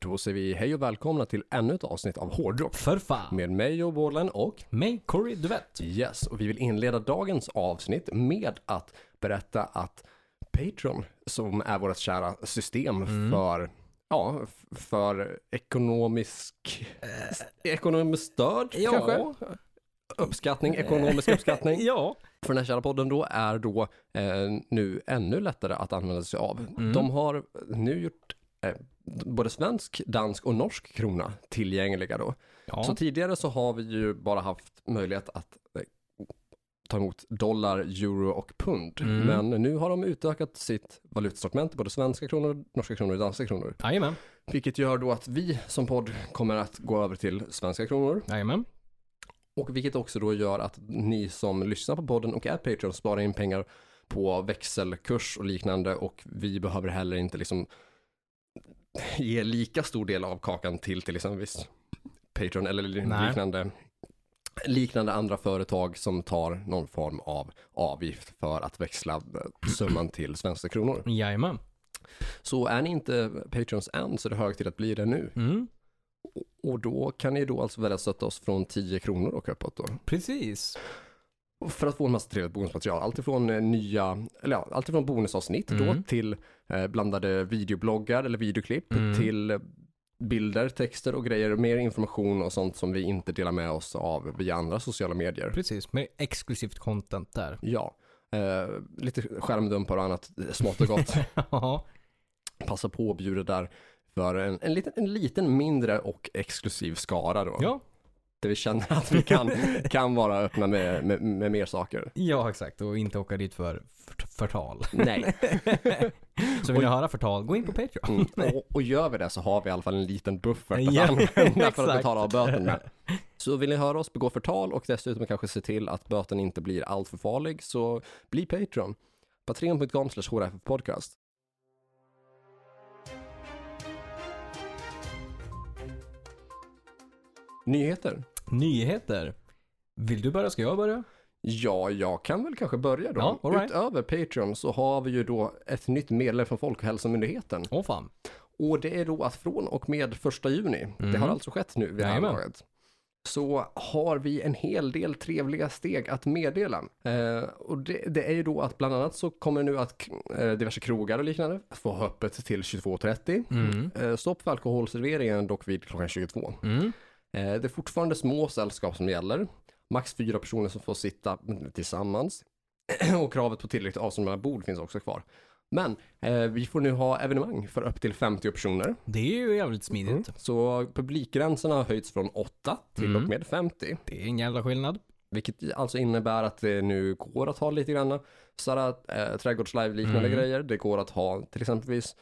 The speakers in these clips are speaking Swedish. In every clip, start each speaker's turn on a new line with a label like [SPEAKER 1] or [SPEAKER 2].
[SPEAKER 1] Då säger vi hej och välkomna till ännu ett avsnitt av Hårdrock
[SPEAKER 2] För fan!
[SPEAKER 1] med mig Joe Borland och
[SPEAKER 2] Mig, Corey Duvett.
[SPEAKER 1] Yes, och vi vill inleda dagens avsnitt med att berätta att Patreon, som är vårt kära system
[SPEAKER 2] Mm.
[SPEAKER 1] för, ja, f- för ekonomisk, ekonomiskt stöd
[SPEAKER 2] Eh. ja.
[SPEAKER 1] kanske? Uppskattning, ekonomisk uppskattning.
[SPEAKER 2] Ja.
[SPEAKER 1] för den här kära podden då är då eh, nu ännu lättare att använda sig av. De har nu gjort eh, både svensk, dansk och norsk krona tillgängliga då.
[SPEAKER 2] Ja.
[SPEAKER 1] Så tidigare så har vi ju bara haft möjlighet att eh, ta emot dollar, euro och pund. Men nu har de utökat sitt valutsortiment till både svenska kronor, norska kronor och danska kronor.
[SPEAKER 2] Jajamän.
[SPEAKER 1] Vilket gör då att vi som podd kommer att gå över till svenska kronor.
[SPEAKER 2] Jajamän.
[SPEAKER 1] Och vilket också då gör att ni som lyssnar på podden och är Patreon sparar in pengar på växelkurs och liknande och vi behöver heller inte liksom ge lika stor del av kakan till till exempelvis Patreon eller li-
[SPEAKER 2] Nej.
[SPEAKER 1] liknande liknande andra företag som tar någon form av avgift för att växla eh, summan till svenska kronor.
[SPEAKER 2] Jajamän.
[SPEAKER 1] Så är ni inte Patreons än så är det hög tid att bli det nu.
[SPEAKER 2] Mm.
[SPEAKER 1] Och då kan ni då alltså välja att stötta oss från 10 kronor och uppåt då.
[SPEAKER 2] Precis.
[SPEAKER 1] Och för att få en massa trevligt bonusmaterial. Alltifrån eh, nya, eller ja, alltifrån bonusavsnitt då
[SPEAKER 2] Mm.
[SPEAKER 1] till eh, blandade videobloggar eller videoklipp
[SPEAKER 2] Mm.
[SPEAKER 1] till eh, bilder, texter och grejer. Mer information och sånt som vi inte delar med oss av via andra sociala medier.
[SPEAKER 2] Precis. Med exklusivt content där.
[SPEAKER 1] Ja, eh, lite skärmdumpar och annat eh, smått och gott.
[SPEAKER 2] Ja.
[SPEAKER 1] Passa på och bjuda där för en, en, liten, en liten mindre och exklusiv skara då.
[SPEAKER 2] Ja.
[SPEAKER 1] Där vi känner att vi kan, kan vara öppna med, med, med mer saker.
[SPEAKER 2] Ja, exakt. Och inte åka dit för för- förtal.
[SPEAKER 1] Nej.
[SPEAKER 2] Så vill ni höra förtal, gå in på Patreon.
[SPEAKER 1] Mm. Och, och gör vi det så har vi i alla fall en liten buffert att
[SPEAKER 2] Ja,
[SPEAKER 1] använda Mm. för att
[SPEAKER 2] exakt.
[SPEAKER 1] betala av böten med. Så vill ni höra oss begå förtal och dessutom kanske se till att böten inte blir alltför farlig så bli Patreon. Patreon.com podcast. Nyheter?
[SPEAKER 2] Nyheter. Vill du börja? Ska jag börja?
[SPEAKER 1] Ja, jag kan väl kanske börja då.
[SPEAKER 2] Ja, all right.
[SPEAKER 1] Utöver Patreon så har vi ju då ett nytt meddelande från Folkhälsomyndigheten.
[SPEAKER 2] Åh fan.
[SPEAKER 1] Och det är då att från och med första juni, det har alltså skett nu vid det här
[SPEAKER 2] Jajamän.
[SPEAKER 1] laget, så har vi en hel del trevliga steg att meddela. Eh, och det, det är ju då att bland annat så kommer nu att eh, diverse krogar och liknande få ha öppet till 22.30. Eh, stopp för alkoholserveringen dock vid klockan 22.
[SPEAKER 2] Mm.
[SPEAKER 1] Eh, det är fortfarande små sällskap som gäller. Max fyra personer som får sitta tillsammans. och kravet på tillräckligt avstånd mellan bord finns också kvar. Men eh, vi får nu ha evenemang för upp till 50 personer.
[SPEAKER 2] Det är ju jävligt smidigt.
[SPEAKER 1] Mm. Så publikgränserna har höjts från 8 till
[SPEAKER 2] Mm.
[SPEAKER 1] och med 50.
[SPEAKER 2] Det är en jävla skillnad.
[SPEAKER 1] Vilket alltså innebär att det nu går att ha lite grann sådana eh, trädgårdslive-liknande
[SPEAKER 2] Mm.
[SPEAKER 1] grejer. Det går att ha till exempelvis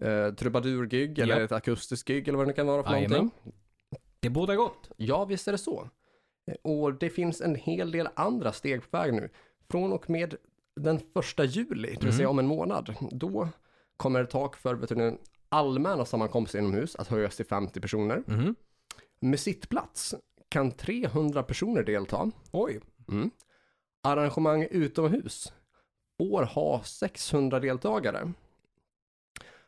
[SPEAKER 1] eh, trubadurgig eller
[SPEAKER 2] Ja.
[SPEAKER 1] ett akustiskt gig eller vad det nu kan vara för
[SPEAKER 2] Jajamän.
[SPEAKER 1] någonting.
[SPEAKER 2] Det båda gott.
[SPEAKER 1] Ja, visst är det så. Eh, Och det finns en hel del andra steg på väg nu. Från och med den första juli, det vill
[SPEAKER 2] Mm.
[SPEAKER 1] säga om en månad, då kommer tak för vet du, den allmänna sammankomster inomhus att höjas till 50 personer.
[SPEAKER 2] Mhm.
[SPEAKER 1] Med sittplats kan 300 personer delta.
[SPEAKER 2] Oj.
[SPEAKER 1] Arrangemang utomhus får ha 600 deltagare.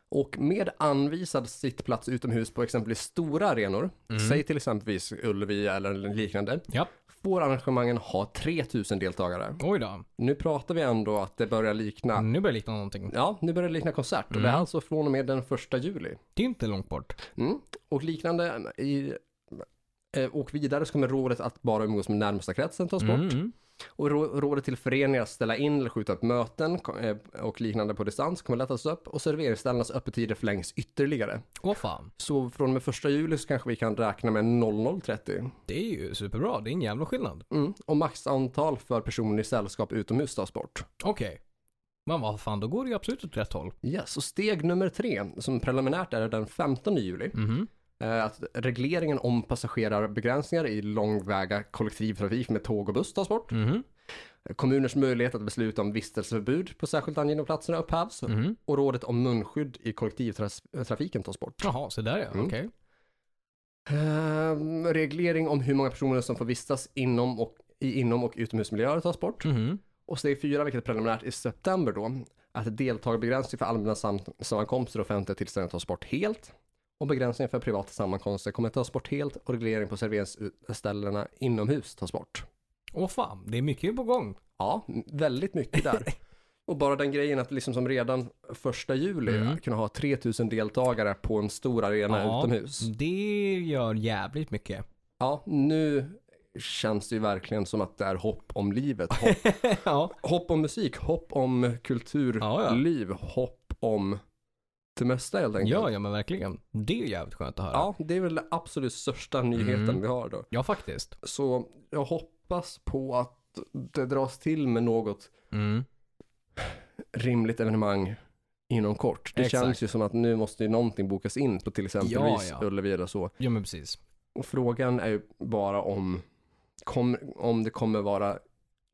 [SPEAKER 1] Och med anvisad sittplats utomhus på exempelvis stora arenor, säg till exempelvis Ullevi eller liknande,
[SPEAKER 2] Ja.
[SPEAKER 1] får arrangemangen ha 3000 deltagare.
[SPEAKER 2] Oj då.
[SPEAKER 1] Nu pratar vi ändå att det börjar likna,
[SPEAKER 2] Nu börjar det likna någonting.
[SPEAKER 1] ja, nu börjar det likna konsert och det är alltså från och med den första juli.
[SPEAKER 2] Det är inte långt bort.
[SPEAKER 1] Mm. Och liknande i, eh, och vidare så kommer rådet att bara umgås med närmsta kretsen tas bort.
[SPEAKER 2] Mm.
[SPEAKER 1] Och rå- rådet till föreningar att ställa in eller skjuta upp möten ko- eh, och liknande på distans kommer lättas upp och serveringsställenas öppettider förlängs ytterligare.
[SPEAKER 2] Åh fan.
[SPEAKER 1] Så från och med första juli så kanske vi kan räkna med 00.30.
[SPEAKER 2] Det är ju superbra. Det är en jävla skillnad.
[SPEAKER 1] Mm. Och maxantal för personer i sällskap utomhus tas bort.
[SPEAKER 2] Okej. Men vad fan, då går det ju absolut åt rätt håll.
[SPEAKER 1] Yes, och steg nummer tre, som preliminärt är den 15 juli,
[SPEAKER 2] Mhm.
[SPEAKER 1] eh, att regleringen om passagerarbegränsningar i långväga kollektivtrafik med tåg och buss tas bort.
[SPEAKER 2] Mhm.
[SPEAKER 1] Kommuners möjlighet att besluta om vistelseförbud på särskilt angivna platser upphävs
[SPEAKER 2] Mhm.
[SPEAKER 1] och rådet om munskydd i kollektivtrafiken tas bort.
[SPEAKER 2] Jaha, så där ja.
[SPEAKER 1] Mm.
[SPEAKER 2] Okej.
[SPEAKER 1] Ehm, reglering om hur många personer som får vistas inom och, i inom och utomhusmiljöer tas bort.
[SPEAKER 2] Mhm.
[SPEAKER 1] Och steg fyra, vilket är preliminärt i september då, att deltagarbegränsning för allmänna sam- sammankomster och offentliga tillställningar tas bort helt. och begränsningar för privata sammankomster kommer tas bort helt och reglering på serveringsställena inomhus tas bort.
[SPEAKER 2] Åh fan, det är mycket på gång.
[SPEAKER 1] Ja, väldigt mycket där. och bara den grejen att liksom som redan första juli
[SPEAKER 2] Mm.
[SPEAKER 1] kunna ha 3000 deltagare på en stor arena
[SPEAKER 2] Ja.
[SPEAKER 1] utomhus.
[SPEAKER 2] Det gör jävligt mycket.
[SPEAKER 1] Ja, nu känns det ju verkligen som att det är hopp om livet. Hopp,
[SPEAKER 2] ja.
[SPEAKER 1] hopp om musik, hopp om
[SPEAKER 2] Ja, ja.
[SPEAKER 1] kulturliv, hopp om det mesta helt enkelt.
[SPEAKER 2] ja, ja men verkligen. Det är ju jävligt skönt att höra.
[SPEAKER 1] Ja, det är väl den absolut största nyheten
[SPEAKER 2] Mm.
[SPEAKER 1] vi har då.
[SPEAKER 2] Ja, faktiskt.
[SPEAKER 1] Så jag hoppas på att det dras till med något
[SPEAKER 2] Mm.
[SPEAKER 1] rimligt evenemang inom kort. Det
[SPEAKER 2] Exakt.
[SPEAKER 1] känns ju som att nu måste ju någonting bokas in på till exempel
[SPEAKER 2] Ja, ja.
[SPEAKER 1] Ullevi eller så.
[SPEAKER 2] Ja, men precis.
[SPEAKER 1] Och frågan är ju bara om, kom, om det kommer vara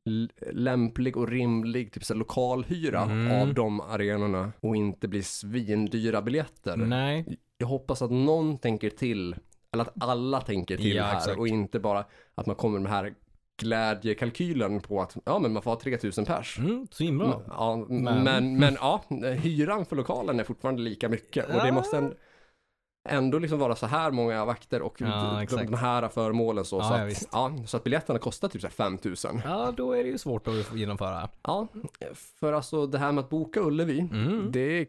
[SPEAKER 1] l- lämplig och rimlig typ så här, lokalhyra
[SPEAKER 2] Mm.
[SPEAKER 1] av de arenorna och inte bli svindyra biljetter.
[SPEAKER 2] Nej.
[SPEAKER 1] Jag hoppas att någon tänker till, eller att alla tänker till
[SPEAKER 2] Ja,
[SPEAKER 1] här
[SPEAKER 2] exakt.
[SPEAKER 1] och inte bara att man kommer med den här glädjekalkylen på att ja men man får ha 3000 pers.
[SPEAKER 2] Mm, så himla bra.
[SPEAKER 1] Ja, men.
[SPEAKER 2] Men-
[SPEAKER 1] Men, ja, hyran för lokalen är fortfarande lika mycket och det
[SPEAKER 2] Ja.
[SPEAKER 1] måste änd- ändå liksom vara så här många vakter och
[SPEAKER 2] Ja,
[SPEAKER 1] de, de,
[SPEAKER 2] exakt.
[SPEAKER 1] de här föremålen så,
[SPEAKER 2] Ja,
[SPEAKER 1] så,
[SPEAKER 2] ja,
[SPEAKER 1] att,
[SPEAKER 2] visst.
[SPEAKER 1] ja, så att biljetterna kostar typ så här 5000.
[SPEAKER 2] Ja, då är det ju svårt att genomföra.
[SPEAKER 1] Ja, för alltså det här med att boka Ullevi,
[SPEAKER 2] Mm.
[SPEAKER 1] det,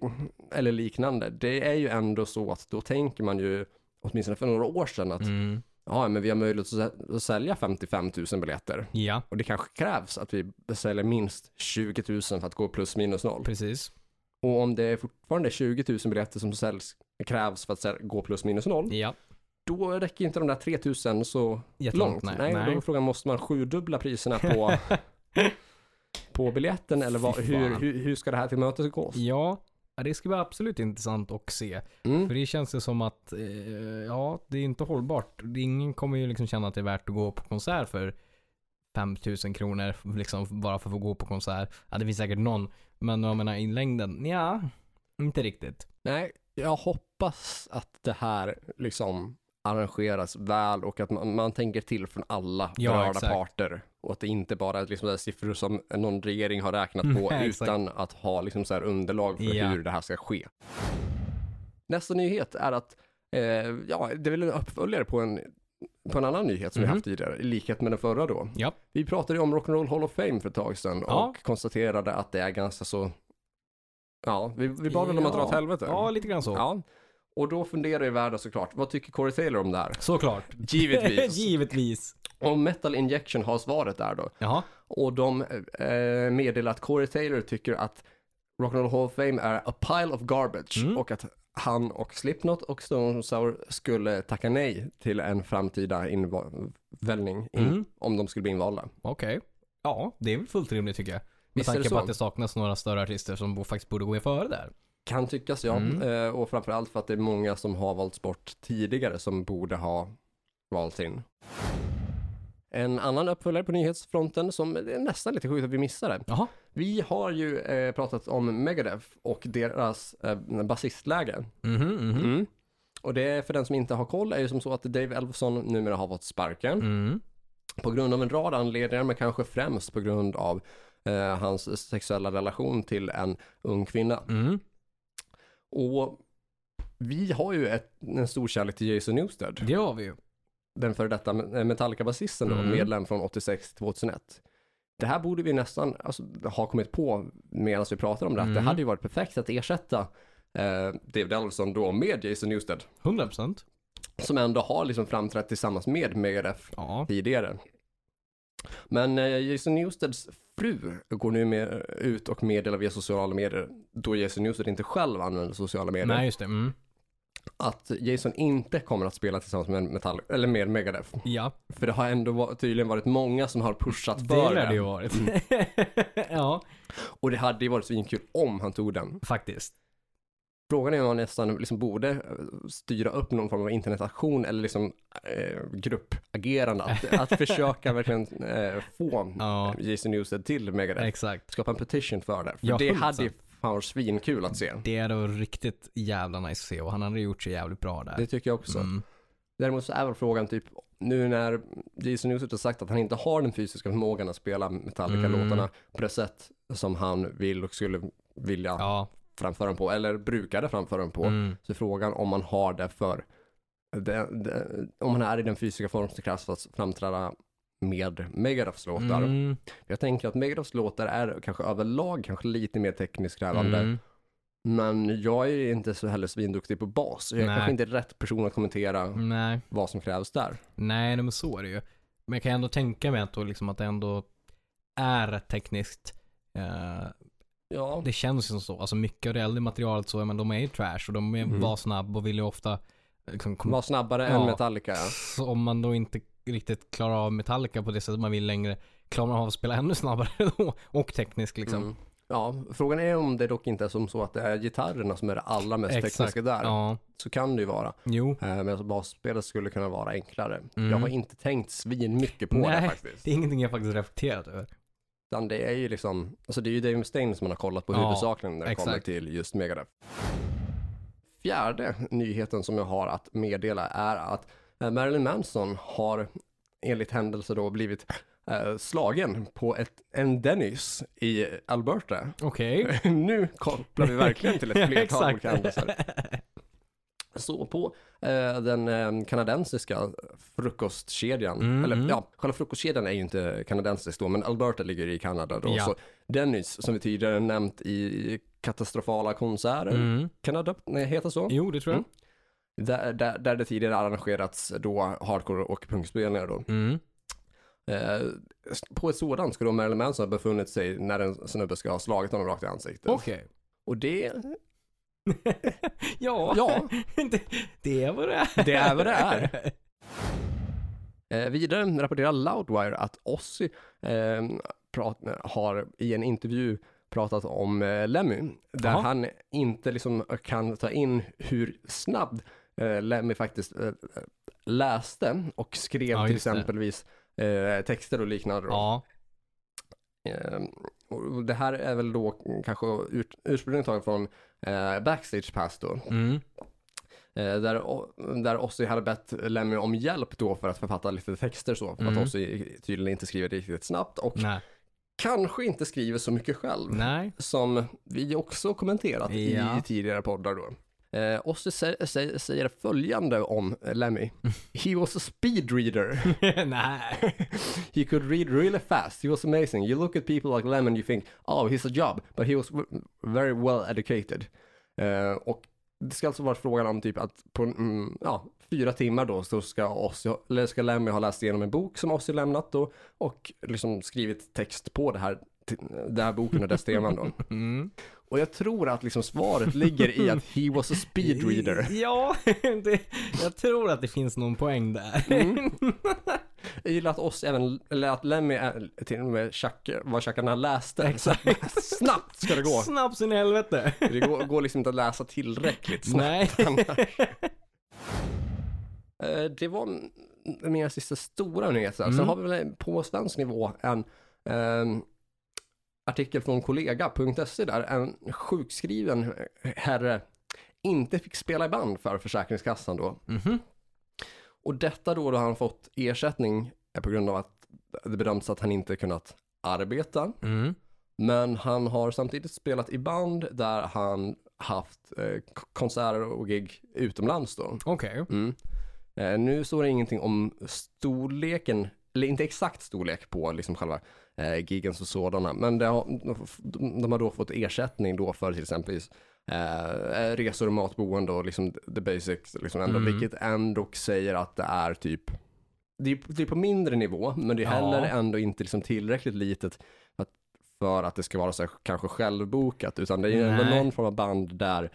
[SPEAKER 1] eller liknande, det är ju ändå så att då tänker man ju, åtminstone för några år sedan, att
[SPEAKER 2] Mm.
[SPEAKER 1] ja, men vi har möjlighet att sä- att sälja 55 000 biljetter.
[SPEAKER 2] Ja,
[SPEAKER 1] Och det kanske krävs att vi säljer minst 20 000 för att gå plus minus noll.
[SPEAKER 2] precis.
[SPEAKER 1] Och om det fortfarande är 20 000 biljetter som säljs, krävs för att säl- gå plus minus noll,
[SPEAKER 2] Ja,
[SPEAKER 1] då räcker inte de där 3 000 så långt.
[SPEAKER 2] jättelångt.
[SPEAKER 1] Nej, då är frågan, måste man sjudubbla priserna på, på biljetten eller vad,
[SPEAKER 2] Fy
[SPEAKER 1] hur,
[SPEAKER 2] fan.
[SPEAKER 1] hur, hur ska det här till mötet gås?
[SPEAKER 2] Ja, det ska bli absolut intressant att se.
[SPEAKER 1] Mm.
[SPEAKER 2] För det känns ju som att, eh, ja, det är inte hållbart. Det- Ingen kommer ju liksom känna att det är värt att gå på konsert för 5000 kronor, liksom bara för att få gå på konsert. Ja, det finns säkert någon. Men jag menar i längden, ja, inte riktigt.
[SPEAKER 1] Nej, jag hoppas att det här liksom arrangeras väl och att man, man tänker till från alla
[SPEAKER 2] Ja,
[SPEAKER 1] berörda
[SPEAKER 2] exakt.
[SPEAKER 1] parter. Och att det inte bara är liksom där siffror som någon regering har räknat
[SPEAKER 2] Mm,
[SPEAKER 1] på
[SPEAKER 2] exakt.
[SPEAKER 1] utan att ha liksom så här underlag för
[SPEAKER 2] Ja.
[SPEAKER 1] hur det här ska ske. Nästa nyhet är att, eh, ja, det är väl en uppföljare på en, på en annan nyhet som vi
[SPEAKER 2] Mhm.
[SPEAKER 1] haft tidigare, i likhet med den förra då.
[SPEAKER 2] Ja.
[SPEAKER 1] Vi pratade ju om Rock'n'Roll Hall of Fame för ett tag sedan
[SPEAKER 2] Ja.
[SPEAKER 1] och konstaterade att det är ganska så, ja, vi, vi bad väl om att dra
[SPEAKER 2] Ja.
[SPEAKER 1] åt helvete.
[SPEAKER 2] Ja, lite grann så.
[SPEAKER 1] Ja, och då funderar ju världen såklart, vad tycker Corey Taylor om det här?
[SPEAKER 2] Såklart.
[SPEAKER 1] Givetvis.
[SPEAKER 2] Givetvis.
[SPEAKER 1] och Metal Injection har svaret där då.
[SPEAKER 2] Jaha.
[SPEAKER 1] Och de eh, meddelar att Corey Taylor tycker att Rock'n'Roll Hall of Fame är a pile of garbage
[SPEAKER 2] Mm.
[SPEAKER 1] och att han och Slipknot och Stone Sour skulle tacka nej till en framtida inväljning in,
[SPEAKER 2] Mm.
[SPEAKER 1] om de skulle bli invalda.
[SPEAKER 2] Okej. Ja, det är väl fullt rimligt tycker jag. Med
[SPEAKER 1] Visst är det
[SPEAKER 2] tanke på
[SPEAKER 1] så.
[SPEAKER 2] att det saknas några större artister som bo- faktiskt borde gå in före där.
[SPEAKER 1] Kan tyckas ja,
[SPEAKER 2] Mm.
[SPEAKER 1] eh, och framförallt för att det är många som har valts bort tidigare som borde ha valts in. En annan uppföljare på nyhetsfronten som det är nästan lite sjukt att vi missar det.
[SPEAKER 2] Jaha.
[SPEAKER 1] Vi har ju eh, pratat om Megadeth och deras eh, basistläge.
[SPEAKER 2] Mhm, mhm.
[SPEAKER 1] Mm. Och det är för den som inte har koll är ju som så att Dave Elfson numera har fått sparken
[SPEAKER 2] Mm.
[SPEAKER 1] på grund av en rad anledningar men kanske främst på grund av eh, hans sexuella relation till en ung kvinna.
[SPEAKER 2] Mm.
[SPEAKER 1] Och vi har ju ett, en stor kärlek till Jason Newsted,
[SPEAKER 2] Det har vi ju.
[SPEAKER 1] den före detta Metallica-basisten då,
[SPEAKER 2] Mm.
[SPEAKER 1] medlem från 86 till 2001. Det här borde vi nästan alltså, ha kommit på medan vi pratar om det, att det
[SPEAKER 2] Mm.
[SPEAKER 1] hade ju varit perfekt att ersätta eh, David Ellison då med Jason Newsted,
[SPEAKER 2] 100%.
[SPEAKER 1] som ändå har liksom framträtt tillsammans med Megadeth
[SPEAKER 2] Ja.
[SPEAKER 1] tidigare. Men eh, Jason Newsteds fru går nu med, ut och meddelar via sociala medier, då Jason Newsted inte själv använder sociala medier,
[SPEAKER 2] Nej, just det. Mm.
[SPEAKER 1] att Jason inte kommer att spela tillsammans med, Metall eller med Megadeth.
[SPEAKER 2] Ja,
[SPEAKER 1] För det har ändå var, tydligen varit många som har pushat
[SPEAKER 2] det
[SPEAKER 1] för
[SPEAKER 2] lär
[SPEAKER 1] det.
[SPEAKER 2] det ju varit. ja,
[SPEAKER 1] Och det hade ju varit svinkul om han tog den.
[SPEAKER 2] faktiskt.
[SPEAKER 1] Frågan är om man nästan liksom borde eh, styra upp någon form av internetaktion eller liksom eh, gruppagerande. Att, att försöka verkligen eh, få
[SPEAKER 2] Ja,
[SPEAKER 1] Jason Newsted till Megadeth.
[SPEAKER 2] exakt.
[SPEAKER 1] Skapa en petition för det. För
[SPEAKER 2] Ja,
[SPEAKER 1] det
[SPEAKER 2] 100%.
[SPEAKER 1] hade ju fan varit svinkul att se.
[SPEAKER 2] Det är då riktigt jävla nice att se och han hade gjort sig jävligt bra där.
[SPEAKER 1] Det typ tycker jag också.
[SPEAKER 2] Mm.
[SPEAKER 1] Däremot så är väl frågan typ, nu när Jason Newsted har sagt att han inte har den fysiska
[SPEAKER 2] Mm.
[SPEAKER 1] förmågan att spela Metallica-låtarna på det sätt som han vill och skulle vilja
[SPEAKER 2] Ja,
[SPEAKER 1] framföra den på eller brukade framföra den på.
[SPEAKER 2] Mm.
[SPEAKER 1] Så frågan om man har det för, det, det, om man är i den fysiska form som krävs för att framträda med Megadeths låtar.
[SPEAKER 2] Mm.
[SPEAKER 1] Jag tänker att Megadeths låtar är kanske överlag kanske lite mer tekniskt krävande.
[SPEAKER 2] Mm.
[SPEAKER 1] Men jag är inte så heller svinduktig på bas. Jag är
[SPEAKER 2] Nej. Mm.
[SPEAKER 1] kanske inte rätt person att kommentera
[SPEAKER 2] Nej.
[SPEAKER 1] vad som krävs där.
[SPEAKER 2] Nej, nej, men så är det ju. Men jag kan ändå tänka mig att, då liksom att det ändå är tekniskt. Eh,
[SPEAKER 1] Ja,
[SPEAKER 2] det känns ju som så. Alltså mycket av det äldre materialet så, men de är ju trash och de är,
[SPEAKER 1] Mm.
[SPEAKER 2] var snabb och vill ju ofta liksom, kom-
[SPEAKER 1] var snabbare
[SPEAKER 2] Ja.
[SPEAKER 1] än Metallica.
[SPEAKER 2] Så om man då inte riktigt klarar av Metallica på det sättet man vill längre, klarar man av att spela ännu snabbare då? Och tekniskt liksom.
[SPEAKER 1] Mm. Ja, frågan är om det dock inte är som så att det är gitarrerna som är det allra mest
[SPEAKER 2] Exakt,
[SPEAKER 1] tekniska där.
[SPEAKER 2] Ja,
[SPEAKER 1] Så kan det ju vara.
[SPEAKER 2] jo.
[SPEAKER 1] Eh, Medan basspelet skulle kunna vara enklare.
[SPEAKER 2] Mm.
[SPEAKER 1] Jag har inte tänkt svin mycket på det
[SPEAKER 2] Nej.
[SPEAKER 1] faktiskt.
[SPEAKER 2] Det är ingenting jag faktiskt reflekterat över.
[SPEAKER 1] Utan det är ju liksom, alltså det är ju Dave Mustaine som man har kollat på
[SPEAKER 2] Ja,
[SPEAKER 1] huvudsakligen när det
[SPEAKER 2] exakt.
[SPEAKER 1] kommer till just Megadeth. Fjärde nyheten som jag har att meddela är att eh, Marilyn Manson har enligt händelse då blivit eh, slagen på ett, en Dennis i Alberta.
[SPEAKER 2] Okej.
[SPEAKER 1] nu kopplar vi verkligen till ett flertal
[SPEAKER 2] Exakt.
[SPEAKER 1] olika händelser. Så på eh, den eh, kanadensiska frukostkedjan,
[SPEAKER 2] Mm,
[SPEAKER 1] eller
[SPEAKER 2] mm.
[SPEAKER 1] ja, själva frukostkedjan är ju inte kanadensisk då, men Alberta ligger i Kanada då.
[SPEAKER 2] Ja.
[SPEAKER 1] Så Dennis, som vi tidigare nämnt i katastrofala konserter,
[SPEAKER 2] Mm.
[SPEAKER 1] Kanada, nej, heter så.
[SPEAKER 2] Jo, det tror jag.
[SPEAKER 1] Där, där, där det tidigare arrangerats då hardcore och punkspelningar då.
[SPEAKER 2] Mm.
[SPEAKER 1] Eh, på ett sådant ska då Marilyn Manson ha befunnit sig när en snubbe ska ha slagit honom rakt i ansiktet.
[SPEAKER 2] Okej.
[SPEAKER 1] Och det,
[SPEAKER 2] Ja,
[SPEAKER 1] ja,
[SPEAKER 2] det, det är vad det är.
[SPEAKER 1] Det är vad det är. Eh, vidare rapporterar Loudwire att Ozzy eh, prat, har i en intervju pratat om eh, Lemmy, där
[SPEAKER 2] Jaha.
[SPEAKER 1] han inte liksom kan ta in hur snabb eh, Lemmy faktiskt eh, läste och skrev
[SPEAKER 2] Ja,
[SPEAKER 1] till
[SPEAKER 2] just det.
[SPEAKER 1] exempelvis eh, texter och liknande. då.
[SPEAKER 2] Ja.
[SPEAKER 1] Eh, och det här är väl då kanske ut, ursprungligen taget från eh, Backstage Pass då,
[SPEAKER 2] Mm.
[SPEAKER 1] Eh, där, O- där Ossi hade bett Lemmy om hjälp då för att författa lite texter så. För
[SPEAKER 2] Mm.
[SPEAKER 1] att Ossi tydligen inte skriver riktigt snabbt och
[SPEAKER 2] Nej.
[SPEAKER 1] kanske inte skriver så mycket själv.
[SPEAKER 2] Nej.
[SPEAKER 1] Som vi också kommenterat
[SPEAKER 2] Ja.
[SPEAKER 1] i tidigare poddar då. Eh, Ossi sä- sä- säger följande om eh, Lemmy.
[SPEAKER 2] Mm.
[SPEAKER 1] He was a speed reader.
[SPEAKER 2] Nej.
[SPEAKER 1] He could read really fast. He was amazing. You look at people like Lemmy and you think, oh, he's a job. But he was w- very well educated. Eh, och det ska alltså vara frågan om typ att på mm, ja, fyra timmar då så ska, Ozzy, eller ska Lemmy ha läst igenom en bok som Ozzy lämnat då och liksom skrivit text på det här, t- den här boken och dess teman då.
[SPEAKER 2] Mm.
[SPEAKER 1] Och jag tror att liksom svaret ligger i att he was a speed reader.
[SPEAKER 2] Ja, det, jag tror att det finns någon poäng där.
[SPEAKER 1] Mm. Jag gillar att oss även, eller att Lemmy är, till och med Chuck, vad Chuckarna läste.
[SPEAKER 2] Exakt.
[SPEAKER 1] Så snabbt ska det gå.
[SPEAKER 2] Snabbt sin helvete.
[SPEAKER 1] Det går, går liksom inte att läsa tillräckligt snabbt.
[SPEAKER 2] Nej.
[SPEAKER 1] Eh, Det var m- mina sista stora nyheter.
[SPEAKER 2] Mm.
[SPEAKER 1] Sen har vi väl på svensk nivå en ehm, artikel från kollega.se där en sjukskriven herre inte fick spela i band för Försäkringskassan då.
[SPEAKER 2] Mhm.
[SPEAKER 1] Och detta då, då han fått ersättning är på grund av att det bedöms att han inte kunnat arbeta.
[SPEAKER 2] Mm.
[SPEAKER 1] Men han har samtidigt spelat i band där han haft eh, k- konserter och gig utomlands då.
[SPEAKER 2] Okej.
[SPEAKER 1] Mm. Eh, nu står det ingenting om storleken, eller inte exakt storlek på liksom själva eh, giggen och sådana, men det har, de, de har då fått ersättning då för till exempel eh, resor och matboende och liksom the basics, liksom ändå,
[SPEAKER 2] Mm.
[SPEAKER 1] vilket ändå säger att det är typ det är, det är på mindre nivå, men det är heller
[SPEAKER 2] Ja.
[SPEAKER 1] ändå inte liksom tillräckligt litet för att, för att det ska vara så här, kanske självbokat, utan det är ju ändå
[SPEAKER 2] Nej.
[SPEAKER 1] någon form av band där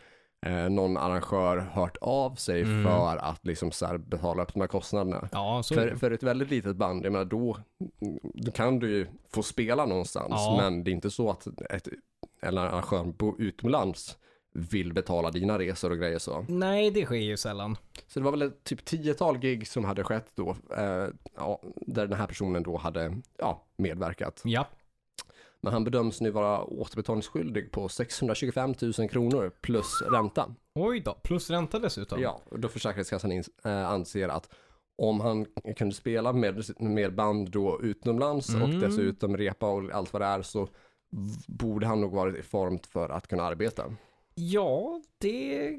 [SPEAKER 1] eh, någon arrangör hört av sig
[SPEAKER 2] Mm.
[SPEAKER 1] för att liksom så här betala upp de här kostnaderna.
[SPEAKER 2] Ja, så är
[SPEAKER 1] För,
[SPEAKER 2] det.
[SPEAKER 1] för ett väldigt litet band, jag menar då, då kan du ju få spela någonstans,
[SPEAKER 2] Ja.
[SPEAKER 1] men det är inte så att ett, en arrangör bo- utomlands vill betala dina resor och grejer så.
[SPEAKER 2] Nej, det sker ju sällan.
[SPEAKER 1] Så det var väl ett typ tiotal gig som hade skett då, eh, ja, där den här personen då hade ja, medverkat.
[SPEAKER 2] Ja.
[SPEAKER 1] Men han bedöms nu vara återbetalningsskyldig på 625 000 kronor plus ränta.
[SPEAKER 2] Oj då, plus ränta dessutom.
[SPEAKER 1] Ja, och då Försäkringskassan ins- eh, anser att om han kunde spela med, med band då utomlands och
[SPEAKER 2] Mm. Mm.
[SPEAKER 1] dessutom repa och allt vad det är så v- borde han nog varit i form för att kunna arbeta.
[SPEAKER 2] Ja, det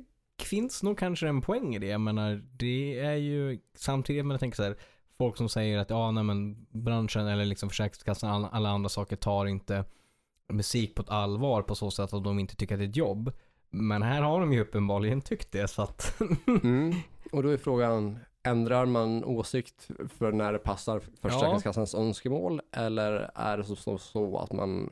[SPEAKER 2] finns nog kanske en poäng i det. Jag menar, det är ju samtidigt, men jag tänker så här, folk som säger att ja, nej, men branschen eller liksom Försäkringskassan alla, alla andra saker tar inte musik på ett allvar på så sätt att de inte tycker att det är ett jobb. Men här har de ju uppenbarligen tyckt det så att
[SPEAKER 1] Mm. Och då är frågan, ändrar man åsikt för när det passar
[SPEAKER 2] Ja.
[SPEAKER 1] Försäkringskassans önskemål eller är det så, så, så att man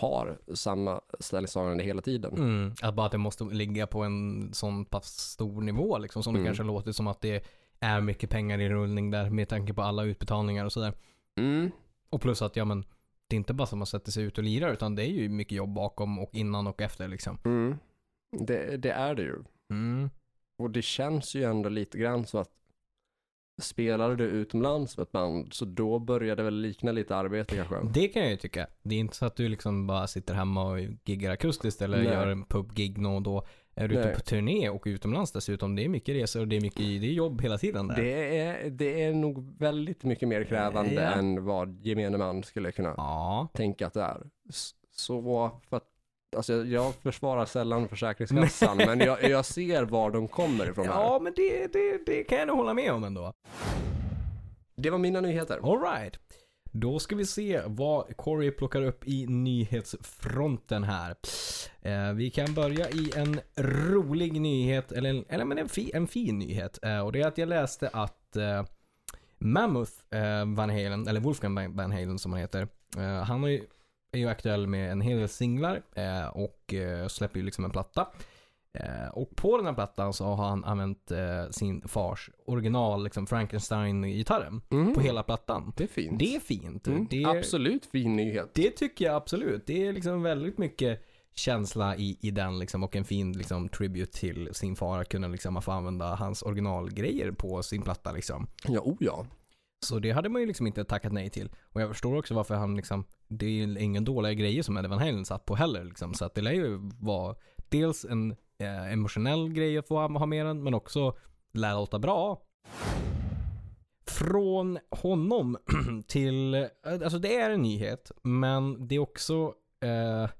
[SPEAKER 1] har samma ställningstagande hela tiden?
[SPEAKER 2] Mm, att bara att det måste ligga på en sån pass stor nivå liksom. Som det
[SPEAKER 1] Mm.
[SPEAKER 2] kanske låter som att det är mycket pengar i rullning där med tanke på alla utbetalningar och sådär.
[SPEAKER 1] Mm.
[SPEAKER 2] Och plus att ja men det är inte bara som man sätter sig ut och lirar utan det är ju mycket jobb bakom och innan och efter liksom.
[SPEAKER 1] Mm. Det, det är det ju.
[SPEAKER 2] Mm.
[SPEAKER 1] Och det känns ju ändå lite grann så att spelade du utomlands med ett band så då började det väl likna lite arbete kanske.
[SPEAKER 2] Det kan jag ju tycka. Det är inte så att du liksom bara sitter hemma och giggar akustiskt eller
[SPEAKER 1] Nej.
[SPEAKER 2] gör en pubgig nå och då. Är du ute
[SPEAKER 1] Nej.
[SPEAKER 2] på turné och utomlands dessutom. Det är mycket resor och det är mycket det är jobb hela tiden där.
[SPEAKER 1] Det är, det är nog väldigt mycket mer krävande
[SPEAKER 2] Ja.
[SPEAKER 1] än vad gemene man skulle kunna
[SPEAKER 2] Ja.
[SPEAKER 1] tänka att det är. S- Så vad- för att, alltså jag- jag försvarar sällan Försäkringskassan, men jag, jag ser var de kommer ifrån här.
[SPEAKER 2] Ja men det, det, det kan jag nog hålla med om ändå.
[SPEAKER 1] Det var mina nyheter.
[SPEAKER 2] Alright. Då ska vi se vad Corey plockar upp i nyhetsfronten här. Eh, vi kan börja i en rolig nyhet, eller, en- eller men en, fi, en fin nyhet. Eh, och det är att jag läste att eh, Mammoth eh, Van Halen, eller Wolfgang Van- Van Halen som han heter. Eh, han är ju, är ju aktuell med en hel del singlar eh, och eh, släpper ju liksom en platta. Eh, och på den här plattan så har han använt eh, sin fars original liksom Frankenstein-gitarren
[SPEAKER 1] Mm.
[SPEAKER 2] på hela plattan.
[SPEAKER 1] Det är fint.
[SPEAKER 2] Det är fint.
[SPEAKER 1] Mm.
[SPEAKER 2] Det,
[SPEAKER 1] Absolut fin nyhet.
[SPEAKER 2] det tycker jag absolut. Det är liksom väldigt mycket känsla i, i den liksom och en fin liksom tribute till sin far att kunna liksom få använda hans originalgrejer på sin platta liksom.
[SPEAKER 1] Ja, o ja.
[SPEAKER 2] Så det hade man ju liksom inte tackat nej till. Och jag förstår också varför han liksom, det är ju inga dåliga grejer som Eddie Van Halen satt på heller liksom. Så att det lär ju vara dels en eh, emotionell grej att få ha ha med den, men också lär låta bra. Från honom till, eh, alltså det är en nyhet, men det är också eh,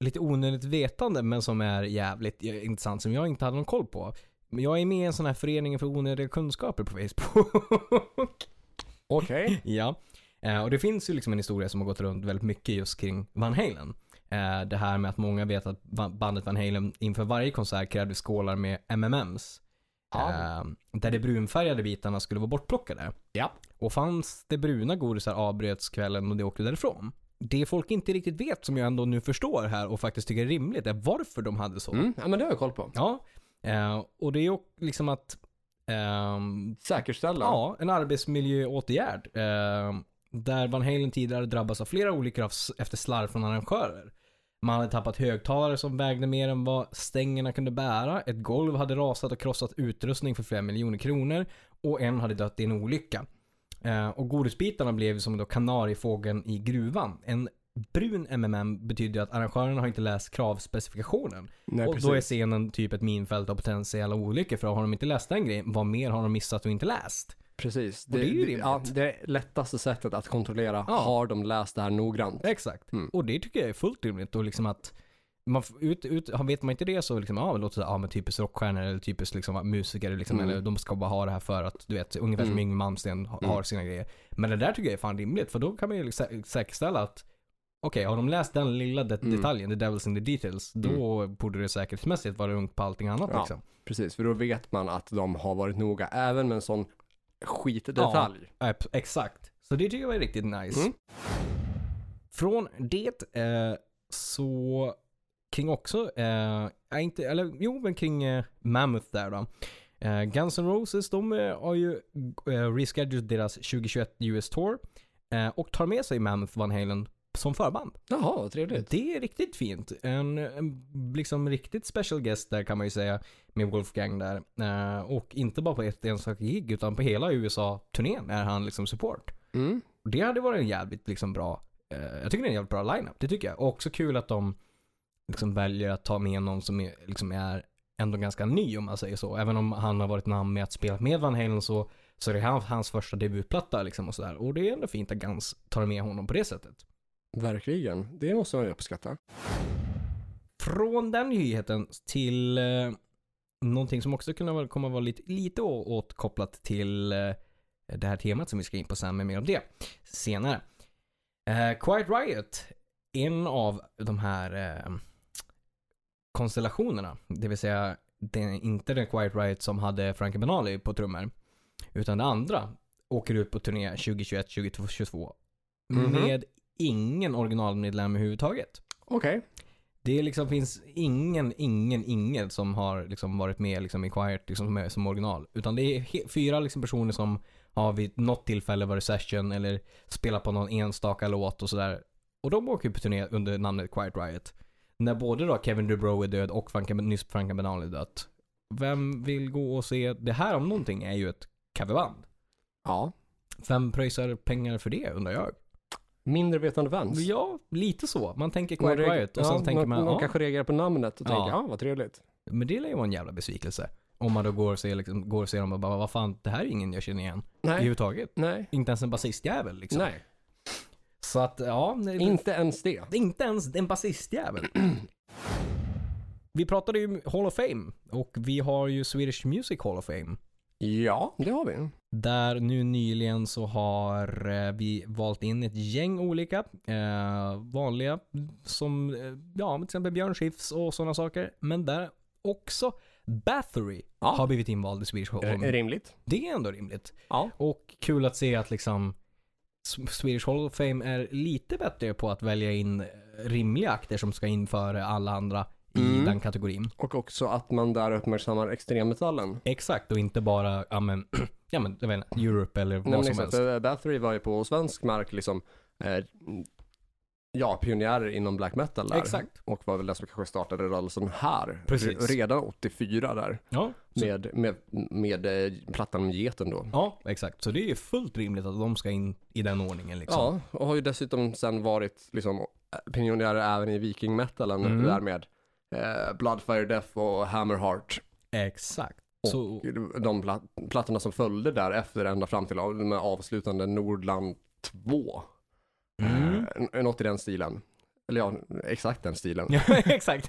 [SPEAKER 2] lite onödigt vetande, men som är jävligt eh, intressant, som jag inte hade någon koll på. Men Jag är med i en sån här förening för onödiga kunskaper på Facebook.
[SPEAKER 1] Okej.
[SPEAKER 2] Ja, eh, och det finns ju liksom en historia som har gått runt väldigt mycket just kring Van Halen. Eh, det här med att många vet att va- bandet Van Halen inför varje konsert krävde skålar med MMMs.
[SPEAKER 1] Ja.
[SPEAKER 2] Eh, där de brunfärgade bitarna skulle vara bortplockade.
[SPEAKER 1] Ja.
[SPEAKER 2] Och fanns det bruna godisar avbröts kvällen och det åkte därifrån. Det folk inte riktigt vet som jag ändå nu förstår här och faktiskt tycker är rimligt är varför de hade så.
[SPEAKER 1] Mm. Ja, men det har jag koll på.
[SPEAKER 2] Ja, eh, och det är ju liksom att ehm,
[SPEAKER 1] Säkerställa.
[SPEAKER 2] Ja, en arbetsmiljöåtgärd. Eh, där Van Halen tidigare drabbats av flera olyckor av, efter slarv från arrangörer. Man hade tappat högtalare som vägde mer än vad stängerna kunde bära. Ett golv hade rasat och krossat utrustning för flera miljoner kronor. Och en hade dött i en olycka. Eh, och godisbitarna blev som då kanariefågeln i gruvan. En brun MMM betyder att arrangören har inte läst kravspecifikationen.
[SPEAKER 1] Nej,
[SPEAKER 2] och
[SPEAKER 1] precis.
[SPEAKER 2] då är scenen typ ett minfält av potentiella olyckor. För har de inte läst den grejen, vad mer har de missat och inte läst?
[SPEAKER 1] precis.
[SPEAKER 2] det är ju rimligt.
[SPEAKER 1] ja, det lättaste sättet att kontrollera,
[SPEAKER 2] Ja.
[SPEAKER 1] har de läst det här noggrant?
[SPEAKER 2] Exakt.
[SPEAKER 1] Mm.
[SPEAKER 2] Och det tycker jag är fullt rimligt. Och liksom att man, f- ut, ut, har- vet man inte det så liksom, ja, men låt säga, ja men typiskt rockstjärnor eller typiskt liksom, musiker, liksom,
[SPEAKER 1] Mm.
[SPEAKER 2] eller de ska bara ha det här för att, du vet, ungefär som
[SPEAKER 1] Mm.
[SPEAKER 2] Yngwie Malmsteen ha- har sina grejer. Men det där tycker jag är fan rimligt, för då kan man ju liksom sä- säkerställa att Okej, har de läst den lilla det-
[SPEAKER 1] Mm.
[SPEAKER 2] detaljen, the devils in the details, då borde det säkerhetsmässigt vara lugnt på allting annat
[SPEAKER 1] Ja.
[SPEAKER 2] liksom.
[SPEAKER 1] Precis, för då vet man att de har varit noga även med en sån skitdetalj.
[SPEAKER 2] Ja, ep- exakt. Så det tycker jag var riktigt nice.
[SPEAKER 1] Mm.
[SPEAKER 2] Från det eh, så kring också, eh, ja, inte, eller jo men kring eh, Mammoth där då. Eh, Guns N' Roses de eh, har ju eh, rescheduled deras 2021 US Tour eh, och tar med sig Mammoth Van Halen som förband.
[SPEAKER 1] Jaha, vad trevligt.
[SPEAKER 2] Det är riktigt fint. En, en liksom riktigt special guest där kan man ju säga med Wolfgang där. Eh, och inte bara på ett enstaka gig utan på hela USA-turnén är han liksom support.
[SPEAKER 1] Mm.
[SPEAKER 2] Och Det hade varit en jävligt liksom bra, eh, jag tycker det är en jävligt bra lineup, det tycker jag. Och också kul att de liksom väljer att ta med någon som är, liksom är ändå ganska ny om man säger så. Även om han har varit namn med att spela med Van Halen så, så är det hans, hans första debutplatta liksom och sådär. Och det är ändå fint att Guns tar med honom på det sättet.
[SPEAKER 1] Verkligen, det måste man ju uppskatta.
[SPEAKER 2] Från den nyheten till eh, någonting som också kunde vara- komma vara lite, lite å- åtkopplat till eh, det här temat som vi ska in på sen, men mer om det senare. Eh, Quiet Riot, en av de här eh, konstellationerna, det vill säga det är inte den Quiet Riot som hade Frankie Benali på trummor, utan det andra åker ut på turné 2021, 2022
[SPEAKER 1] Mhm.
[SPEAKER 2] med ingen originalmedlem överhuvudtaget.
[SPEAKER 1] Okej.
[SPEAKER 2] Det liksom finns ingen, ingen, ingen som har liksom varit med liksom i Quiet liksom med, som original. Utan det är he- fyra liksom personer som har vid något tillfälle varit session eller spelat på någon enstaka låt och sådär. Och de åker ju på turné under namnet Quiet Riot. När både då Kevin Dubrow är död och Frank, nyss Frank Abenal är dött. Vem vill gå och se? Det här om någonting är ju ett coverband.
[SPEAKER 1] Ja.
[SPEAKER 2] Vem pröjsar pengar för det undrar jag?
[SPEAKER 1] Mindre vetande vans.
[SPEAKER 2] Ja, lite så. Man tänker
[SPEAKER 1] Mm. Man
[SPEAKER 2] Quiet
[SPEAKER 1] reager-
[SPEAKER 2] Riot och sen
[SPEAKER 1] ja,
[SPEAKER 2] tänker man,
[SPEAKER 1] någon
[SPEAKER 2] ja,
[SPEAKER 1] kanske reagerar på namnet och
[SPEAKER 2] Ja.
[SPEAKER 1] tänker, ja vad trevligt.
[SPEAKER 2] men det lär ju vara en jävla besvikelse. Om man då går och ser, liksom, går och ser dem och bara, vad fan, det här är ingen jag känner igen.
[SPEAKER 1] Nej,
[SPEAKER 2] Överhuvudtaget.
[SPEAKER 1] nej,
[SPEAKER 2] Inte ens en basistjävel liksom.
[SPEAKER 1] nej.
[SPEAKER 2] Så att, ja. nej,
[SPEAKER 1] Inte ens det.
[SPEAKER 2] det är inte ens en basistjävel. vi pratade ju Hall of Fame och vi har ju Swedish Music Hall of Fame.
[SPEAKER 1] Ja, det har vi.
[SPEAKER 2] Där nu nyligen så har eh, vi valt in ett gäng olika eh, vanliga som eh, ja, till exempel Björn Skifs och sådana saker. Men där också Bathory
[SPEAKER 1] Ja. Eh,
[SPEAKER 2] har blivit invald i Swedish Hall.
[SPEAKER 1] R- rimligt.
[SPEAKER 2] Det är ändå rimligt.
[SPEAKER 1] Ja.
[SPEAKER 2] Och kul att se att liksom S- Swedish Hall of Fame är lite bättre på att välja in eh, rimliga akter som ska in före alla andra i
[SPEAKER 1] Mm.
[SPEAKER 2] den kategorin.
[SPEAKER 1] Och också att man där uppmärksammar extremmetallen.
[SPEAKER 2] Exakt, och inte bara ja, men, ja, men, jag vet inte, Europe eller vad
[SPEAKER 1] Nej, men
[SPEAKER 2] som
[SPEAKER 1] exakt,
[SPEAKER 2] helst.
[SPEAKER 1] eh, Bathory var ju på svensk mark liksom, eh, ja, pionjärer inom black metal där.
[SPEAKER 2] Exakt.
[SPEAKER 1] Och var väl den som kanske startade rörelsen här.
[SPEAKER 2] Precis.
[SPEAKER 1] Re- Redan 84 där.
[SPEAKER 2] Ja, så-
[SPEAKER 1] Med, med, med, eh, plattan med geten då.
[SPEAKER 2] Ja, exakt. Så det är ju fullt rimligt att de ska in i den ordningen liksom.
[SPEAKER 1] Ja, och har ju dessutom sen varit liksom pionjärer även i viking metalen
[SPEAKER 2] Mm.
[SPEAKER 1] där med eh, Bloodfire Death och Hammerheart.
[SPEAKER 2] Exakt.
[SPEAKER 1] Och-
[SPEAKER 2] Så,
[SPEAKER 1] De plat- plattorna som följde där efter ända fram till av- de här avslutande Nordland 2.
[SPEAKER 2] mm.
[SPEAKER 1] Eh, n- något i den stilen. Eller ja, exakt den stilen.
[SPEAKER 2] Ja, exakt.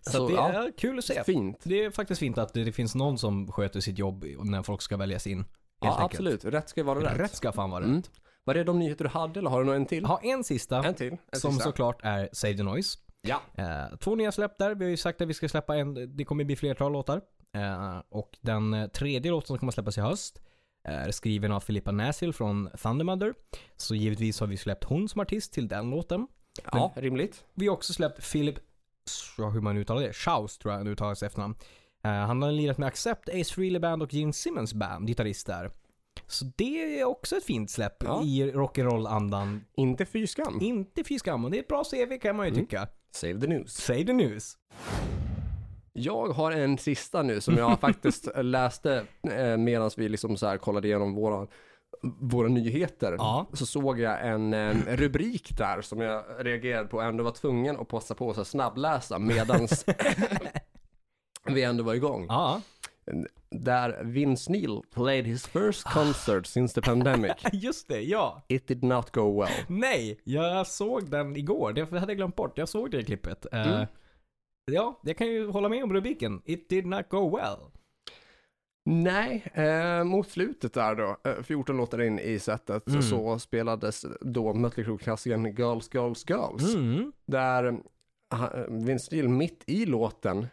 [SPEAKER 2] så
[SPEAKER 1] Så,
[SPEAKER 2] det
[SPEAKER 1] ja.
[SPEAKER 2] är kul att se.
[SPEAKER 1] Fint.
[SPEAKER 2] Det är faktiskt fint att det, det finns någon som sköter sitt jobb när folk ska väljas in. Helt
[SPEAKER 1] Ja,
[SPEAKER 2] enkelt.
[SPEAKER 1] absolut. Rätt ska ju vara rätt.
[SPEAKER 2] Rätt ska fan vara rätt.
[SPEAKER 1] Mm. Var det de nyheter du hade eller har du någon en till?
[SPEAKER 2] Ha en sista.
[SPEAKER 1] En till. En
[SPEAKER 2] som
[SPEAKER 1] sista.
[SPEAKER 2] såklart är Save the Noise.
[SPEAKER 1] Ja.
[SPEAKER 2] Eh, två nya släpp där. Vi har ju sagt att vi ska släppa en. Det kommer bli flertal låtar. Eh, och den eh, tredje låten som kommer släppas i höst är skriven av Filippa Näsil från Thundermother. Så givetvis har vi släppt hon som artist till den låten.
[SPEAKER 1] ja, rimligt.
[SPEAKER 2] Vi har också släppt Philip, ja, hur man uttalar det, Schaus tror jag han uttalar sig efternamn. Eh, han har lirat med Accept, Ace Frehley Band och Gene Simmons Band, gitarrist där. Så det är också ett fint släpp
[SPEAKER 1] Ja.
[SPEAKER 2] i rock'n'roll-andan.
[SPEAKER 1] Inte fy skam.
[SPEAKER 2] Inte fy skam, och det är ett bra CV kan man
[SPEAKER 1] Mm.
[SPEAKER 2] ju tycka.
[SPEAKER 1] Save the news.
[SPEAKER 2] Säg det news.
[SPEAKER 1] Jag har en sista nu som jag faktiskt läste eh, medan vi liksom så här kollade igenom våra, våra nyheter.
[SPEAKER 2] Ja.
[SPEAKER 1] Så såg jag en, eh, rubrik där som jag reagerade på och ändå var tvungen att passa på att så här snabbläsa medans vi ändå var igång.
[SPEAKER 2] Ja,
[SPEAKER 1] Där Vince Neil played his first concert since the pandemic.
[SPEAKER 2] just det, ja.
[SPEAKER 1] It did not go well.
[SPEAKER 2] Nej, jag såg den igår. Det hade jag glömt bort. Jag såg det klippet. Eh,
[SPEAKER 1] Mm.
[SPEAKER 2] Ja, jag kan ju hålla med om rubriken. It did not go well.
[SPEAKER 1] Nej, eh, mot slutet där då, eh, 14 låtar in i setet,
[SPEAKER 2] Mm.
[SPEAKER 1] så spelades då Mötley Crüe-klassikern Girls, Girls, Girls.
[SPEAKER 2] Mm.
[SPEAKER 1] Där eh, Vince Neil mitt i låten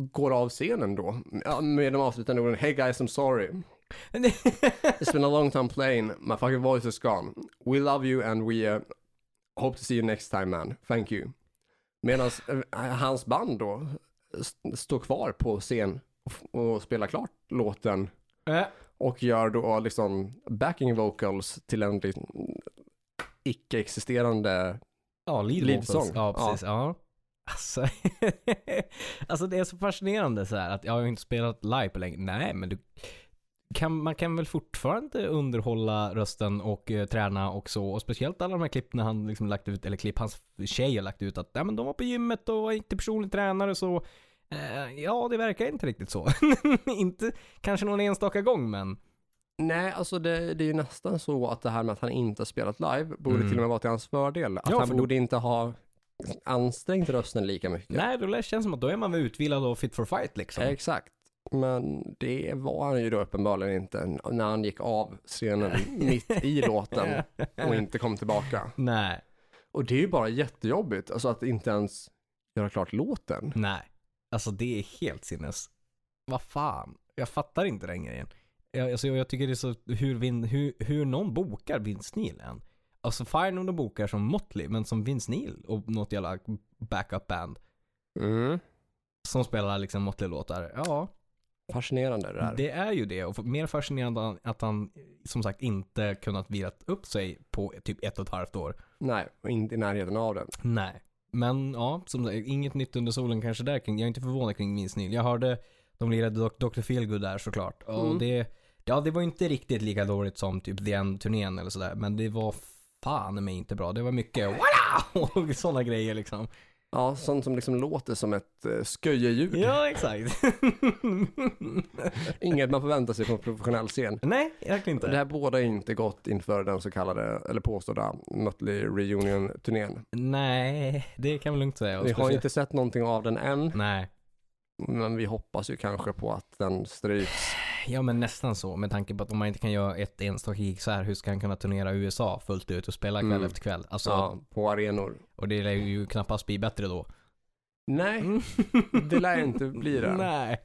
[SPEAKER 1] går av scenen då, ja, med de avslutande orden Hey guys I'm sorry, it's been a long time playing, my fucking voice is gone, we love you and we eh, hope to see you next time man, thank you. Medan hans band då st- står kvar på scen och, f- och spelar klart låten
[SPEAKER 2] Eh,
[SPEAKER 1] och gör då liksom backing vocals till en liksom icke-existerande
[SPEAKER 2] Ja, lead,
[SPEAKER 1] Lead
[SPEAKER 2] vocals.
[SPEAKER 1] song.
[SPEAKER 2] Ja, precis. Ja. Alltså, alltså det är så fascinerande så här att jag har ju inte spelat live på länge. Nej, men du kan, man kan väl fortfarande underhålla rösten och eh, träna och så. Och speciellt alla de här klipp när han liksom lagt ut, eller klipp hans tjej har lagt ut att nej, men de var på gymmet och var inte personlig tränare så. Eh, ja, det verkar inte riktigt så. inte kanske någon enstaka gång, men
[SPEAKER 1] Nej, alltså det, det är ju nästan så att det här med att han inte har spelat live borde
[SPEAKER 2] Mm.
[SPEAKER 1] till och med vara till hans fördel. Att
[SPEAKER 2] Ja,
[SPEAKER 1] han
[SPEAKER 2] för då-
[SPEAKER 1] borde inte ha ansträngt rösten lika mycket.
[SPEAKER 2] Nej, då lär- känns det som att då är man väl utvilad och fit for fight liksom.
[SPEAKER 1] Exakt. Men det var han ju då uppenbarligen inte när han gick av scenen mitt i låten och inte kom tillbaka.
[SPEAKER 2] Nej,
[SPEAKER 1] Och det är ju bara jättejobbigt, alltså att inte ens göra klart låten.
[SPEAKER 2] nej. Alltså det är helt sinnes. Vad fan. Jag fattar inte den grejen. Jag, alltså, jag jag tycker det är så hur, Vin, hur, hur någon bokar Vince Neil än. Alltså fine om de bokar som Motley, men som Vince Neil och något jävla backup band Mm. som spelar liksom Motley-låtar. Ja,
[SPEAKER 1] Fascinerande det där.
[SPEAKER 2] Det är ju det. Och mer fascinerande att han som sagt inte kunnat vilat upp sig på typ ett och ett halvt år.
[SPEAKER 1] Nej, inte i närheten av den.
[SPEAKER 2] Nej. Men ja, som sagt, inget nytt under solen kanske där kring. Jag är inte förvånad kring Vince Neil. Jag hörde de lirade Dok- Dr. Feelgood där såklart. Och
[SPEAKER 1] Mm.
[SPEAKER 2] det, ja, det var inte riktigt lika dåligt som typ The End-turnén eller sådär. Men det var fan mig inte bra. Det var mycket "Walla!" och sådana grejer liksom.
[SPEAKER 1] Ja, sånt som liksom låter som ett eh, sköjeljud.
[SPEAKER 2] Ja, exakt.
[SPEAKER 1] Inget man förväntar sig på en professionell scen.
[SPEAKER 2] Nej, verkligen
[SPEAKER 1] Det
[SPEAKER 2] inte.
[SPEAKER 1] här båda är inte gott inför den så kallade, eller påstådda, Mötley Reunion-turnén.
[SPEAKER 2] Nej, det kan man lugnt säga. Och
[SPEAKER 1] Vi har
[SPEAKER 2] speciellt-
[SPEAKER 1] inte sett någonting av den än,
[SPEAKER 2] Nej.
[SPEAKER 1] men vi hoppas ju kanske på att den stryks.
[SPEAKER 2] Ja men nästan så med tanke på att om man inte kan göra ett enstaka gig så här hur ska han kunna turnera USA fullt ut och spela kväll
[SPEAKER 1] Mm.
[SPEAKER 2] efter kväll? Alltså,
[SPEAKER 1] Ja, på arenor.
[SPEAKER 2] och det lär ju knappast bli bättre då.
[SPEAKER 1] Nej, det lär inte bli det.
[SPEAKER 2] Nej.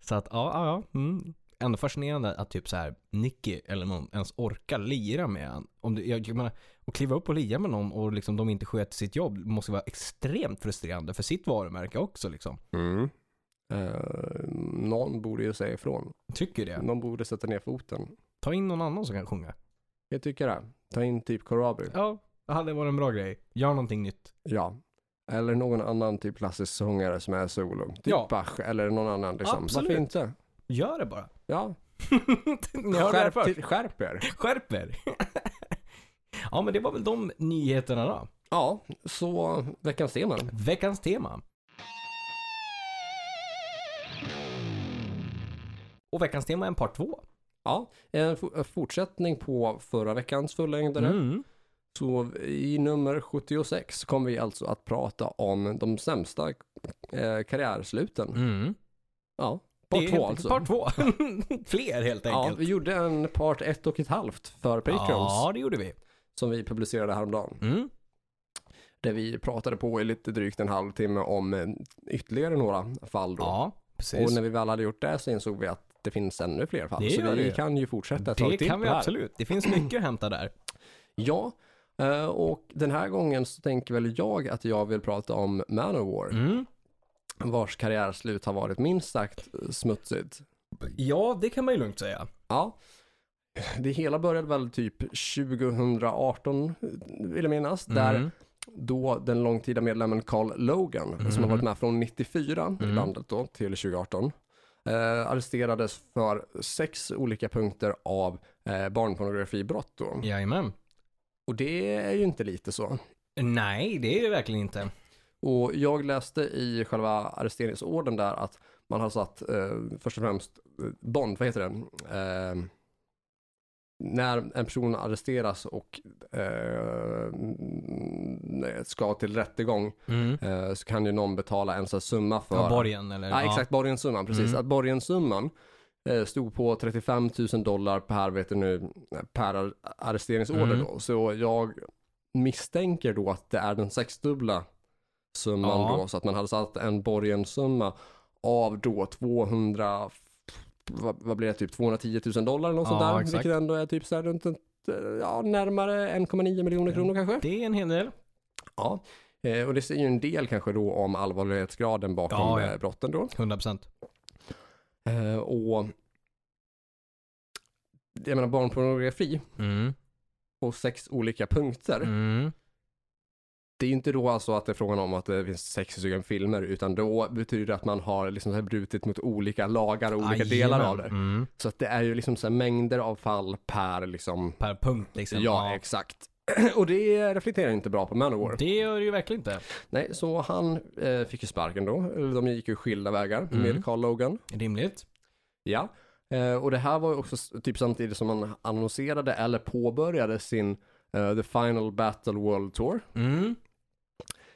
[SPEAKER 2] Så att ja, ja, ja. Mm. Ändå fascinerande att typ så här Nicky eller någon ens orkar lira med han. Om det, jag, jag menar, att kliva upp och lira med någon och liksom de inte sköter sitt jobb måste vara extremt frustrerande för sitt varumärke också liksom.
[SPEAKER 1] Mm. Eh, någon borde ju säga ifrån.
[SPEAKER 2] Tycker det.
[SPEAKER 1] Någon borde sätta ner foten.
[SPEAKER 2] Ta in någon annan som kan sjunga.
[SPEAKER 1] Jag tycker det. Ta in typ Corabi.
[SPEAKER 2] Ja, det hade varit en bra grej. Gör någonting nytt.
[SPEAKER 1] Ja. Eller någon annan typ klassisk sångare som är solo. Typ
[SPEAKER 2] Ja.
[SPEAKER 1] Bach eller någon annan liksom.
[SPEAKER 2] Absolut.
[SPEAKER 1] Varför inte?
[SPEAKER 2] Gör det bara.
[SPEAKER 1] Ja,
[SPEAKER 2] Ni hörde det här
[SPEAKER 1] skärp,
[SPEAKER 2] först.
[SPEAKER 1] till, skärp er.
[SPEAKER 2] Skärp er. ja, men det var väl de nyheterna då.
[SPEAKER 1] Ja, så veckans tema.
[SPEAKER 2] Veckans tema. Och veckans tema är en part två.
[SPEAKER 1] Ja, en f- en fortsättning på förra veckans fullängdare.
[SPEAKER 2] Mm.
[SPEAKER 1] Så i nummer 76 kommer vi alltså att prata om de sämsta eh, karriärsluten.
[SPEAKER 2] Mm.
[SPEAKER 1] Ja,
[SPEAKER 2] Det
[SPEAKER 1] part
[SPEAKER 2] är
[SPEAKER 1] två
[SPEAKER 2] helt-
[SPEAKER 1] alltså.
[SPEAKER 2] Part två. Fler helt
[SPEAKER 1] Ja,
[SPEAKER 2] enkelt.
[SPEAKER 1] vi gjorde en part ett och ett halvt för Patreons
[SPEAKER 2] ja det gjorde vi.
[SPEAKER 1] som vi publicerade häromdagen.
[SPEAKER 2] Mm.
[SPEAKER 1] Där vi pratade på i lite drygt en halvtimme om eh, ytterligare några fall då.
[SPEAKER 2] Ja,
[SPEAKER 1] och
[SPEAKER 2] precis.
[SPEAKER 1] när vi väl hade gjort det så insåg vi att det finns ännu fler fall.
[SPEAKER 2] Det
[SPEAKER 1] så
[SPEAKER 2] gör
[SPEAKER 1] vi
[SPEAKER 2] det ju.
[SPEAKER 1] kan ju fortsätta ett
[SPEAKER 2] Det
[SPEAKER 1] tag till
[SPEAKER 2] kan vi
[SPEAKER 1] på här.
[SPEAKER 2] absolut. Det finns mycket att hämta där.
[SPEAKER 1] Ja, eh, och den här gången så tänker väl jag att jag vill prata om Manowar.
[SPEAKER 2] Mm.
[SPEAKER 1] vars karriärslut har varit minst sagt smutsigt.
[SPEAKER 2] Ja, det kan man ju lugnt säga.
[SPEAKER 1] Ja, det hela började väl typ 2018 vill jag minnas, där
[SPEAKER 2] Mm.
[SPEAKER 1] då den långtida medlemmen Carl Logan, som har varit med från 94 i bandet då till 2018, eh, arresterades för sex olika punkter av eh, barnpornografibrott då.
[SPEAKER 2] Jajamän.
[SPEAKER 1] Och det är ju inte lite så.
[SPEAKER 2] Nej, det är det verkligen inte.
[SPEAKER 1] Och jag läste i själva arresteringsorden där att man har satt eh, först och främst eh, bond, vad heter det? Eh, när en person arresteras och eh, mm, ska till rättegång
[SPEAKER 2] Mm.
[SPEAKER 1] eh, så kan ju någon betala en sån här summa för...
[SPEAKER 2] Ja, borgen eller?
[SPEAKER 1] Ja, exakt, borgenssumman, precis.
[SPEAKER 2] Mm.
[SPEAKER 1] Att borgenssumman eh, stod på 35 000 dollar per, vet du nu, per ar- arresteringsorder
[SPEAKER 2] Mm.
[SPEAKER 1] då. Så jag misstänker då att det är den sexdubbla summan
[SPEAKER 2] Ja.
[SPEAKER 1] då, så att man hade satt en borgenssumma av då 200, vad, vad blir det, typ 210 000 dollar eller något sånt
[SPEAKER 2] Ja,
[SPEAKER 1] där,
[SPEAKER 2] exakt.
[SPEAKER 1] vilket ändå är typ så här runt en, ja, närmare 1,9 miljoner kronor kanske.
[SPEAKER 2] Det är en hel del.
[SPEAKER 1] Ja. Eh, och det säger ju en del kanske då om allvarlighetsgraden bakom
[SPEAKER 2] Ja, ja.
[SPEAKER 1] eh, brotten då.
[SPEAKER 2] 100%.
[SPEAKER 1] Eh, och jag menar barnpornografi
[SPEAKER 2] Mm.
[SPEAKER 1] på sex olika punkter.
[SPEAKER 2] Mm.
[SPEAKER 1] Det är ju inte då alltså att det är frågan om att det finns sex stycken filmer utan då betyder det att man har liksom så här brutit mot olika lagar och olika delar av det.
[SPEAKER 2] Ah, Mm.
[SPEAKER 1] Så att det är ju liksom så här mängder av fall per liksom,
[SPEAKER 2] Per punkt liksom.
[SPEAKER 1] ja exakt. Och det reflekterar ju inte bra på Manowar.
[SPEAKER 2] Det gör det ju verkligen inte.
[SPEAKER 1] Nej, så han eh, fick ju sparken då. Eller De gick ju skilda vägar
[SPEAKER 2] Mm.
[SPEAKER 1] med Carl Logan.
[SPEAKER 2] Rimligt.
[SPEAKER 1] Ja, eh, och det här var ju också s- typ samtidigt som man annonserade eller påbörjade sin eh, The Final Battle World Tour.
[SPEAKER 2] Mm.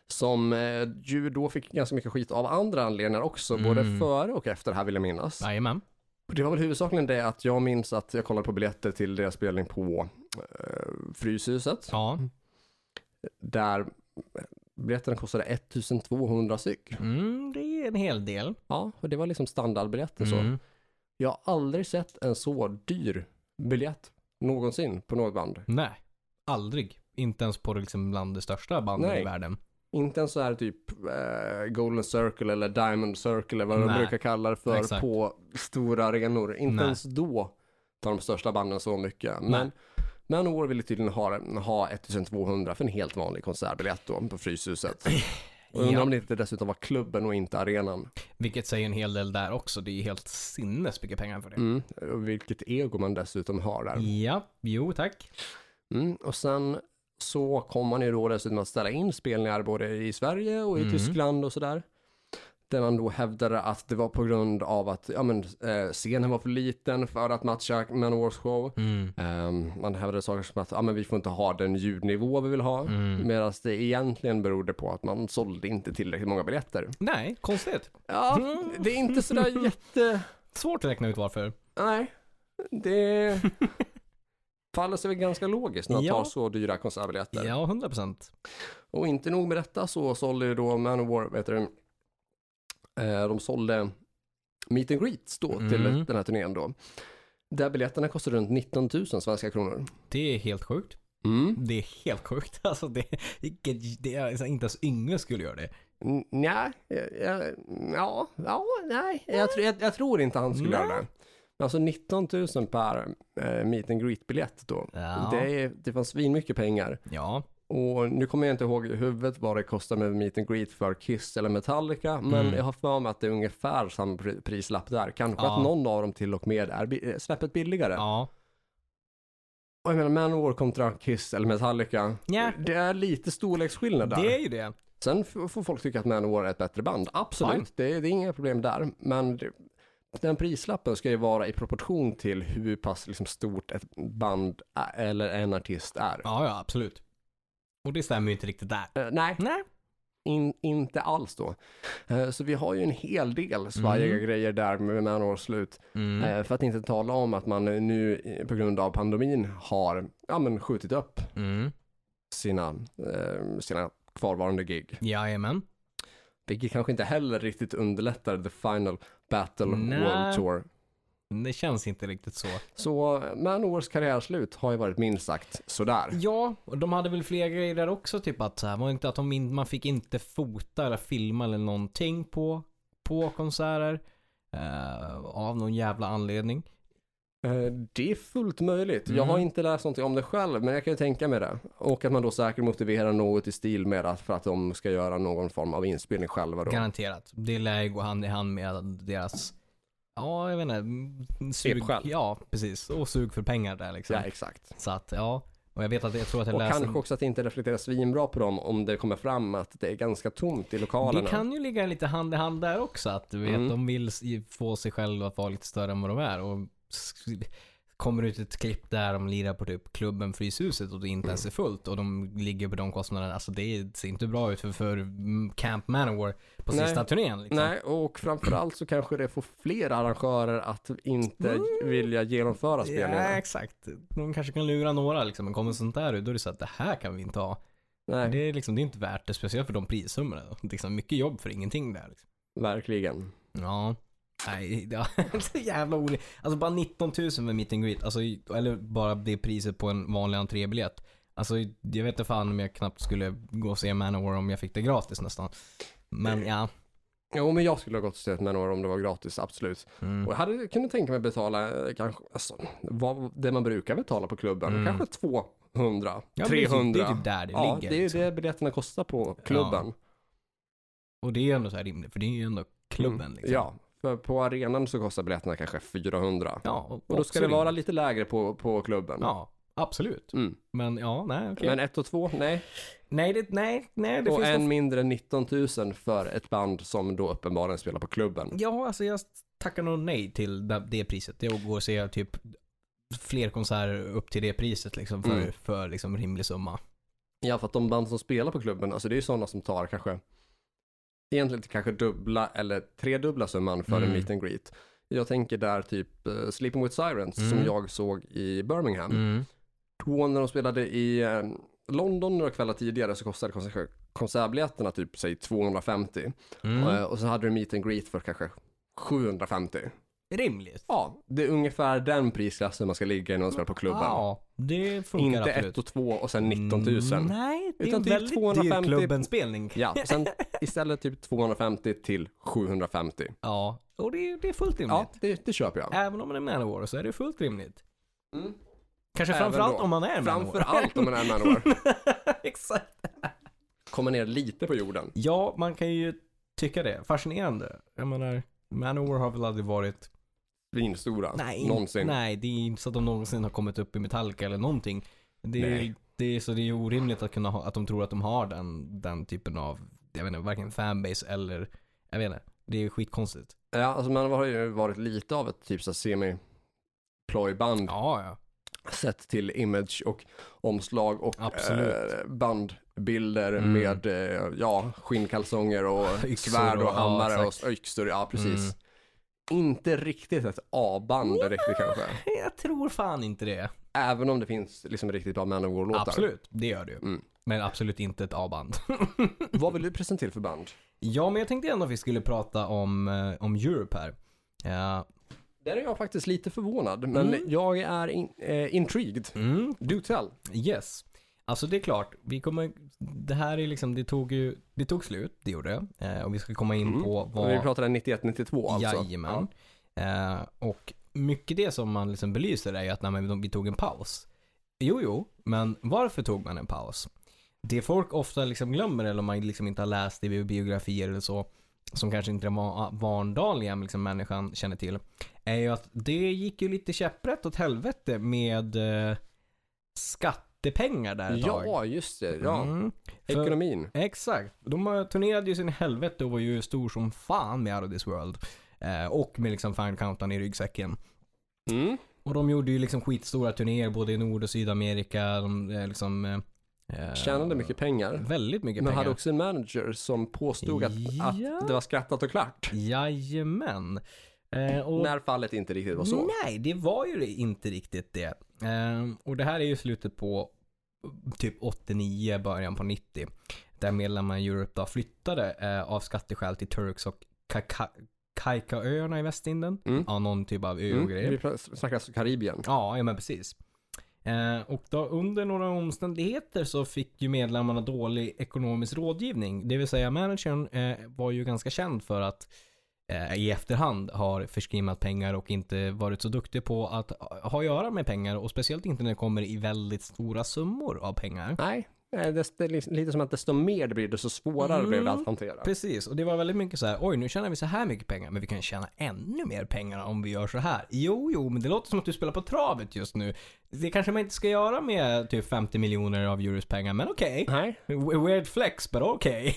[SPEAKER 1] Som eh, ju då fick ganska mycket skit av andra anledningar också, både
[SPEAKER 2] Mm.
[SPEAKER 1] före och efter här vill jag minnas.
[SPEAKER 2] Jajamän.
[SPEAKER 1] Och Det var väl huvudsakligen det att jag minns att jag kollade på biljetter till deras spelning på eh, Fryshuset.
[SPEAKER 2] Ja.
[SPEAKER 1] Där eh, biljetterna kostade 1200 styck.
[SPEAKER 2] Mm, det är en hel del.
[SPEAKER 1] Ja, och det var liksom standardbiljetter så.
[SPEAKER 2] Mm.
[SPEAKER 1] Jag har aldrig sett en så dyr biljett någonsin på något band.
[SPEAKER 2] Nej, aldrig. Inte ens på liksom bland de största banden
[SPEAKER 1] Nej.
[SPEAKER 2] i världen.
[SPEAKER 1] Inte en så här typ eh, Golden Circle eller Diamond Circle eller vad de
[SPEAKER 2] Nej,
[SPEAKER 1] brukar kalla det för
[SPEAKER 2] exakt.
[SPEAKER 1] på stora arenor. Inte
[SPEAKER 2] Nej.
[SPEAKER 1] ens då tar de största banden så mycket.
[SPEAKER 2] Nej.
[SPEAKER 1] Men Manowar ville tydligen ha, ha 1200 för en helt vanlig konsertbiljett då på Fryshuset. Och undrar
[SPEAKER 2] Ja.
[SPEAKER 1] om det inte dessutom var klubben och inte arenan.
[SPEAKER 2] Vilket säger en hel del där också. Det är ju helt sinnes mycket pengar för det.
[SPEAKER 1] Mm. Och vilket ego man dessutom har där.
[SPEAKER 2] Ja, jo tack.
[SPEAKER 1] Mm. Och sen så kom man ju då dessutom att ställa in spelningar både i Sverige och i
[SPEAKER 2] Mm.
[SPEAKER 1] Tyskland och sådär. Där man då hävdade att det var på grund av att ja, men, eh, scenen var för liten för att matcha Manowars show.
[SPEAKER 2] Mm.
[SPEAKER 1] Ehm, man hävdade saker som att ja, men vi får inte ha den ljudnivå vi vill ha.
[SPEAKER 2] Mm.
[SPEAKER 1] Medan det egentligen berodde på att man sålde inte tillräckligt många biljetter.
[SPEAKER 2] Nej, konstigt.
[SPEAKER 1] Ja,
[SPEAKER 2] Mm.
[SPEAKER 1] det är inte sådär jätte...
[SPEAKER 2] Svårt att räkna ut varför.
[SPEAKER 1] Nej, det faller sig väl ganska logiskt när man
[SPEAKER 2] Ja.
[SPEAKER 1] tar så dyra konsertbiljetter.
[SPEAKER 2] Ja, 100 procent.
[SPEAKER 1] Och inte nog med detta så sålde ju då Manowar, vet du, eh, de sålde Meet and Greets då till
[SPEAKER 2] Mm.
[SPEAKER 1] den här turnén då. Där biljetterna kostade runt 19 000 svenska kronor.
[SPEAKER 2] Det är helt sjukt.
[SPEAKER 1] Mm.
[SPEAKER 2] Det är helt sjukt. Alltså det, vilket- det är, alltså, inte ens Yngve skulle göra det.
[SPEAKER 1] Nej, eh, ja, ja, nej, jag, tr- jag, jag tror inte han skulle göra
[SPEAKER 2] Nej.
[SPEAKER 1] det. Men Alltså 19 000 per eh, meet and greet-biljett då.
[SPEAKER 2] Ja.
[SPEAKER 1] Det, är, det fanns mycket pengar.
[SPEAKER 2] Ja.
[SPEAKER 1] Och nu kommer jag inte ihåg i huvudet vad det kostar med meet and greet för Kiss eller Metallica, men
[SPEAKER 2] Mm.
[SPEAKER 1] jag har för mig att det är ungefär samma pri- prislapp där. Kanske
[SPEAKER 2] Ja.
[SPEAKER 1] att någon av dem till och med är bi- eh, snäppet billigare.
[SPEAKER 2] Ja.
[SPEAKER 1] Och jag menar, Manowar kontra Kiss eller Metallica,
[SPEAKER 2] Ja.
[SPEAKER 1] det är lite storleksskillnad där.
[SPEAKER 2] Det är ju det.
[SPEAKER 1] Sen f- får folk tycka att Manowar är ett bättre band, absolut, det, det är inga problem där, men det, den prislappen ska ju vara i proportion till hur pass liksom, stort ett band ä- eller en artist är.
[SPEAKER 2] Ja, ja, absolut. Och det stämmer ju inte riktigt där.
[SPEAKER 1] Eh, nej,
[SPEAKER 2] Nej.
[SPEAKER 1] In, inte alls då. Eh, Så vi har ju en hel del svajiga
[SPEAKER 2] Mm.
[SPEAKER 1] grejer där med Manowars slut.
[SPEAKER 2] Mm.
[SPEAKER 1] Eh, För att inte tala om att man nu eh, på grund av pandemin har ja, men skjutit upp
[SPEAKER 2] Mm.
[SPEAKER 1] sina, eh, sina kvarvarande gig.
[SPEAKER 2] Jajamän.
[SPEAKER 1] Vilket kanske inte heller riktigt underlättar the final battle
[SPEAKER 2] Nej.
[SPEAKER 1] world tour.
[SPEAKER 2] Det känns inte riktigt så.
[SPEAKER 1] Så eh, Manowars karriärslut har ju varit minst sagt sådär.
[SPEAKER 2] Ja, och de hade väl flera grejer där också. Typ att så här, var det inte att de in, man fick inte fota eller filma eller någonting på, på konserter. eh, av någon jävla anledning.
[SPEAKER 1] Eh, Det är fullt möjligt. Jag har
[SPEAKER 2] Mm.
[SPEAKER 1] inte läst någonting om det själv, men jag kan ju tänka mig det. Och att man då säkert motiverar något i stil med att för att de ska göra någon form av inspelning själva då.
[SPEAKER 2] Garanterat. Det lär ju gå hand i hand med deras, ja jag vet inte, mm, sug.
[SPEAKER 1] Svepskäl.
[SPEAKER 2] Ja, precis. Och sug för pengar där liksom.
[SPEAKER 1] Ja, exakt.
[SPEAKER 2] Så att ja. Och jag vet att jag tror att jag
[SPEAKER 1] Och
[SPEAKER 2] läste.
[SPEAKER 1] kanske också att det inte reflekterar svinbra på dem om det kommer fram att det är ganska tomt i lokalerna.
[SPEAKER 2] Det kan ju ligga lite hand i hand där också. Att du vet,
[SPEAKER 1] Mm.
[SPEAKER 2] de vill s- få sig själva att vara lite större än vad de är. Och sk- kommer ut ett klipp där de lirar på typ klubben Fryshuset och det
[SPEAKER 1] Mm.
[SPEAKER 2] inte ens är fullt och de ligger på de kostnaderna. Alltså det ser inte bra ut för, för mm, Camp Manowar på
[SPEAKER 1] Nej.
[SPEAKER 2] sista turnén. Liksom.
[SPEAKER 1] Nej, och framförallt så kanske det får fler arrangörer att inte
[SPEAKER 2] Mm.
[SPEAKER 1] vilja genomföra spelningarna.
[SPEAKER 2] Ja, exakt. De kanske kan lura några liksom. Men kommer sånt där ut, då är det så att det här kan vi inte ha.
[SPEAKER 1] Nej,
[SPEAKER 2] Det är liksom, det är inte värt det, speciellt för de prissummorna. Det är Liksom, mycket jobb för ingenting där. Liksom.
[SPEAKER 1] verkligen.
[SPEAKER 2] Ja. Nej, det var så jävla onödigt. Alltså bara 19 000 för meet and greet. Alltså, eller bara det priset på en vanlig entrébiljett. Alltså jag vet inte fan om jag knappt skulle gå och se Manowar om jag fick det gratis nästan. Men ja.
[SPEAKER 1] Jo, men jag skulle ha gått och sett Manowar om det var gratis, absolut.
[SPEAKER 2] Mm.
[SPEAKER 1] Och jag hade kunnat tänka mig betala eh, kanske, alltså, vad, det man brukar betala på klubben,
[SPEAKER 2] Mm.
[SPEAKER 1] kanske 200,
[SPEAKER 2] Ja, men det är typ-
[SPEAKER 1] 300.
[SPEAKER 2] Det är typ där det
[SPEAKER 1] ja,
[SPEAKER 2] ligger.
[SPEAKER 1] det är ju
[SPEAKER 2] liksom.
[SPEAKER 1] det biljetterna kostar på klubben. Mm.
[SPEAKER 2] Och det är ju ändå så här rimligt, för det är ju ändå klubben
[SPEAKER 1] Mm.
[SPEAKER 2] liksom.
[SPEAKER 1] Ja, för på arenan så kostar biljetterna kanske 400.
[SPEAKER 2] ja och,
[SPEAKER 1] och då
[SPEAKER 2] också
[SPEAKER 1] ska det vara
[SPEAKER 2] rimligt.
[SPEAKER 1] lite lägre på, på klubben.
[SPEAKER 2] Ja, absolut.
[SPEAKER 1] Mm.
[SPEAKER 2] Men ja, nej okej.
[SPEAKER 1] Men ett och två, nej.
[SPEAKER 2] Nej, det, nej, nej, det
[SPEAKER 1] och
[SPEAKER 2] finns
[SPEAKER 1] en
[SPEAKER 2] nog-
[SPEAKER 1] mindre 19 000 för ett band som då uppenbarligen spelar på klubben.
[SPEAKER 2] Ja, alltså jag tackar nog nej till det, det priset. Det går att se typ fler konserter upp till det priset liksom för,
[SPEAKER 1] Mm.
[SPEAKER 2] för liksom rimlig summa.
[SPEAKER 1] Ja, för att de band som spelar på klubben, alltså det är ju sådana som tar kanske egentligen inte kanske dubbla eller tredubbla summan för en
[SPEAKER 2] Mm.
[SPEAKER 1] meet and greet. Jag tänker där typ eh, Sleeping with Sirens som
[SPEAKER 2] Mm.
[SPEAKER 1] jag såg i Birmingham.
[SPEAKER 2] Mm.
[SPEAKER 1] Då när de spelade i eh, London några kvällar tidigare så kostade konser- konsertbiljetterna typ säg 250. Eh,
[SPEAKER 2] Mm.
[SPEAKER 1] och så hade du meet and greet för kanske 750.
[SPEAKER 2] Rimligt.
[SPEAKER 1] Ja, det är ungefär den prisklassen man ska ligga i när man spelar på klubben.
[SPEAKER 2] Ja, det funkar
[SPEAKER 1] inte 1
[SPEAKER 2] absolut.
[SPEAKER 1] och 2 och sen 19 000.
[SPEAKER 2] Mm, Nej, det
[SPEAKER 1] Utan
[SPEAKER 2] är en
[SPEAKER 1] typ
[SPEAKER 2] väldigt
[SPEAKER 1] 250.
[SPEAKER 2] dyr klubbenspelning.
[SPEAKER 1] Ja, och sen istället typ 250 till 750.
[SPEAKER 2] Ja, och det, är- det är fullt rimligt.
[SPEAKER 1] Ja, det, det köper jag.
[SPEAKER 2] Även om man är Manowar så är det fullt rimligt.
[SPEAKER 1] Mm.
[SPEAKER 2] Kanske
[SPEAKER 1] Även
[SPEAKER 2] framförallt
[SPEAKER 1] då.
[SPEAKER 2] om man är
[SPEAKER 1] Framför
[SPEAKER 2] Manowar.
[SPEAKER 1] allt om man är Manowar.
[SPEAKER 2] Exakt.
[SPEAKER 1] Kommer ner lite på jorden.
[SPEAKER 2] Ja, man kan ju tycka det. Fascinerande. Jag menar, Manowar har väl aldrig varit...
[SPEAKER 1] Svinstora.
[SPEAKER 2] Nej,
[SPEAKER 1] Någonsin.
[SPEAKER 2] nej, det är inte så att de någonsin har kommit upp i Metallica eller någonting. Det
[SPEAKER 1] Nej.
[SPEAKER 2] är, det är, så det är ju orimligt att, kunna ha, att de tror att de har den, den typen av, jag vet inte, varken fanbase eller, jag vet inte. Det är ju skitkonstigt.
[SPEAKER 1] Ja, alltså man har ju varit lite av ett typ så här semi-plojband
[SPEAKER 2] Ja, ja.
[SPEAKER 1] sett till image och omslag och
[SPEAKER 2] Absolut.
[SPEAKER 1] eh, bandbilder
[SPEAKER 2] Mm. Ah,
[SPEAKER 1] med eh, ja, skinnkalsonger och
[SPEAKER 2] Yxor
[SPEAKER 1] svärd och
[SPEAKER 2] och- ja,
[SPEAKER 1] hammare
[SPEAKER 2] exakt.
[SPEAKER 1] och yxor. Ja, precis.
[SPEAKER 2] Mm.
[SPEAKER 1] Inte riktigt ett A-band riktigt kanske.
[SPEAKER 2] Jag tror fan inte det.
[SPEAKER 1] Även om det finns liksom riktigt bra Manowar-låtar.
[SPEAKER 2] Absolut, det gör det ju.
[SPEAKER 1] Mm.
[SPEAKER 2] Men absolut inte ett A-band.
[SPEAKER 1] Vad vill du presentera för band?
[SPEAKER 2] ja, men jag tänkte ändå att vi skulle prata om, eh, om Europe här. Ja.
[SPEAKER 1] Där är jag faktiskt lite förvånad, men
[SPEAKER 2] Mm.
[SPEAKER 1] jag är in, eh, intrigued.
[SPEAKER 2] Mm,
[SPEAKER 1] Do tell.
[SPEAKER 2] Yes. Alltså det är klart, vi kommer, det här är liksom, det tog ju, det tog slut, det gjorde det. Eh, och vi ska komma in
[SPEAKER 1] Mm.
[SPEAKER 2] på vad...
[SPEAKER 1] Vi pratade 91-92 alltså.
[SPEAKER 2] Jajamän. Eh, och mycket det som man liksom belyser är ju att nej, men de- vi tog en paus. Jo, jo, men varför tog man en paus? Det folk ofta liksom glömmer, eller om man liksom inte har läst i biografier eller så, som kanske inte den va- vanliga liksom människan känner till, är ju att det gick ju lite käpprätt åt helvete med eh, skattepengar där ett
[SPEAKER 1] Ja,
[SPEAKER 2] tag.
[SPEAKER 1] ja just det. Ja.
[SPEAKER 2] Mm. För-
[SPEAKER 1] Ekonomin.
[SPEAKER 2] Exakt. De eh, turnerade ju sin helvete och var ju stor som fan med Out of this world. Eh, och med liksom Final Countdown i ryggsäcken.
[SPEAKER 1] Mm.
[SPEAKER 2] Och de gjorde ju liksom skitstora turnéer både i Nord och Sydamerika. De eh, liksom... eh, eh,
[SPEAKER 1] Tjänade mycket pengar.
[SPEAKER 2] Väldigt mycket
[SPEAKER 1] Men
[SPEAKER 2] pengar.
[SPEAKER 1] hade också en manager som påstod att,
[SPEAKER 2] Ja.
[SPEAKER 1] att det var skrattat och klart.
[SPEAKER 2] Jajamän. Eh, och...
[SPEAKER 1] När fallet inte riktigt var så.
[SPEAKER 2] Nej, det var ju inte riktigt det. Ehm, och det här är ju slutet på typ 89, början på 90. Där medlemmarna i Europe då flyttade eh, av skatteskäl till Turks och Kaka- Kaikaöarna i Västindien.
[SPEAKER 1] Mm.
[SPEAKER 2] Ja, någon typ av ö och
[SPEAKER 1] Mm.
[SPEAKER 2] grejer.
[SPEAKER 1] Vi pra- snackar alltså Karibien.
[SPEAKER 2] Ja, ja men precis. Eh, och då under några omständigheter så fick ju medlemmarna dålig ekonomisk rådgivning. Det vill säga managern eh, var ju ganska känd för att eh, i efterhand har förskrimmat pengar och inte varit så duktig på att ha att göra med pengar och speciellt inte när det kommer i väldigt stora summor av pengar.
[SPEAKER 1] Nej, eh, det det är liksom- lite som att desto mer det blir, desto svårare
[SPEAKER 2] Mm.
[SPEAKER 1] blev det att hantera.
[SPEAKER 2] Precis, och det var väldigt mycket så här, oj nu tjänar vi så här mycket pengar, men vi kan tjäna ännu mer pengar om vi gör så här. Jo, jo, men det låter som att du spelar på travet just nu. Det kanske man inte ska göra med typ 50 miljoner av euros pengar, men okej.
[SPEAKER 1] Nej.
[SPEAKER 2] W- Weird flex, but okej.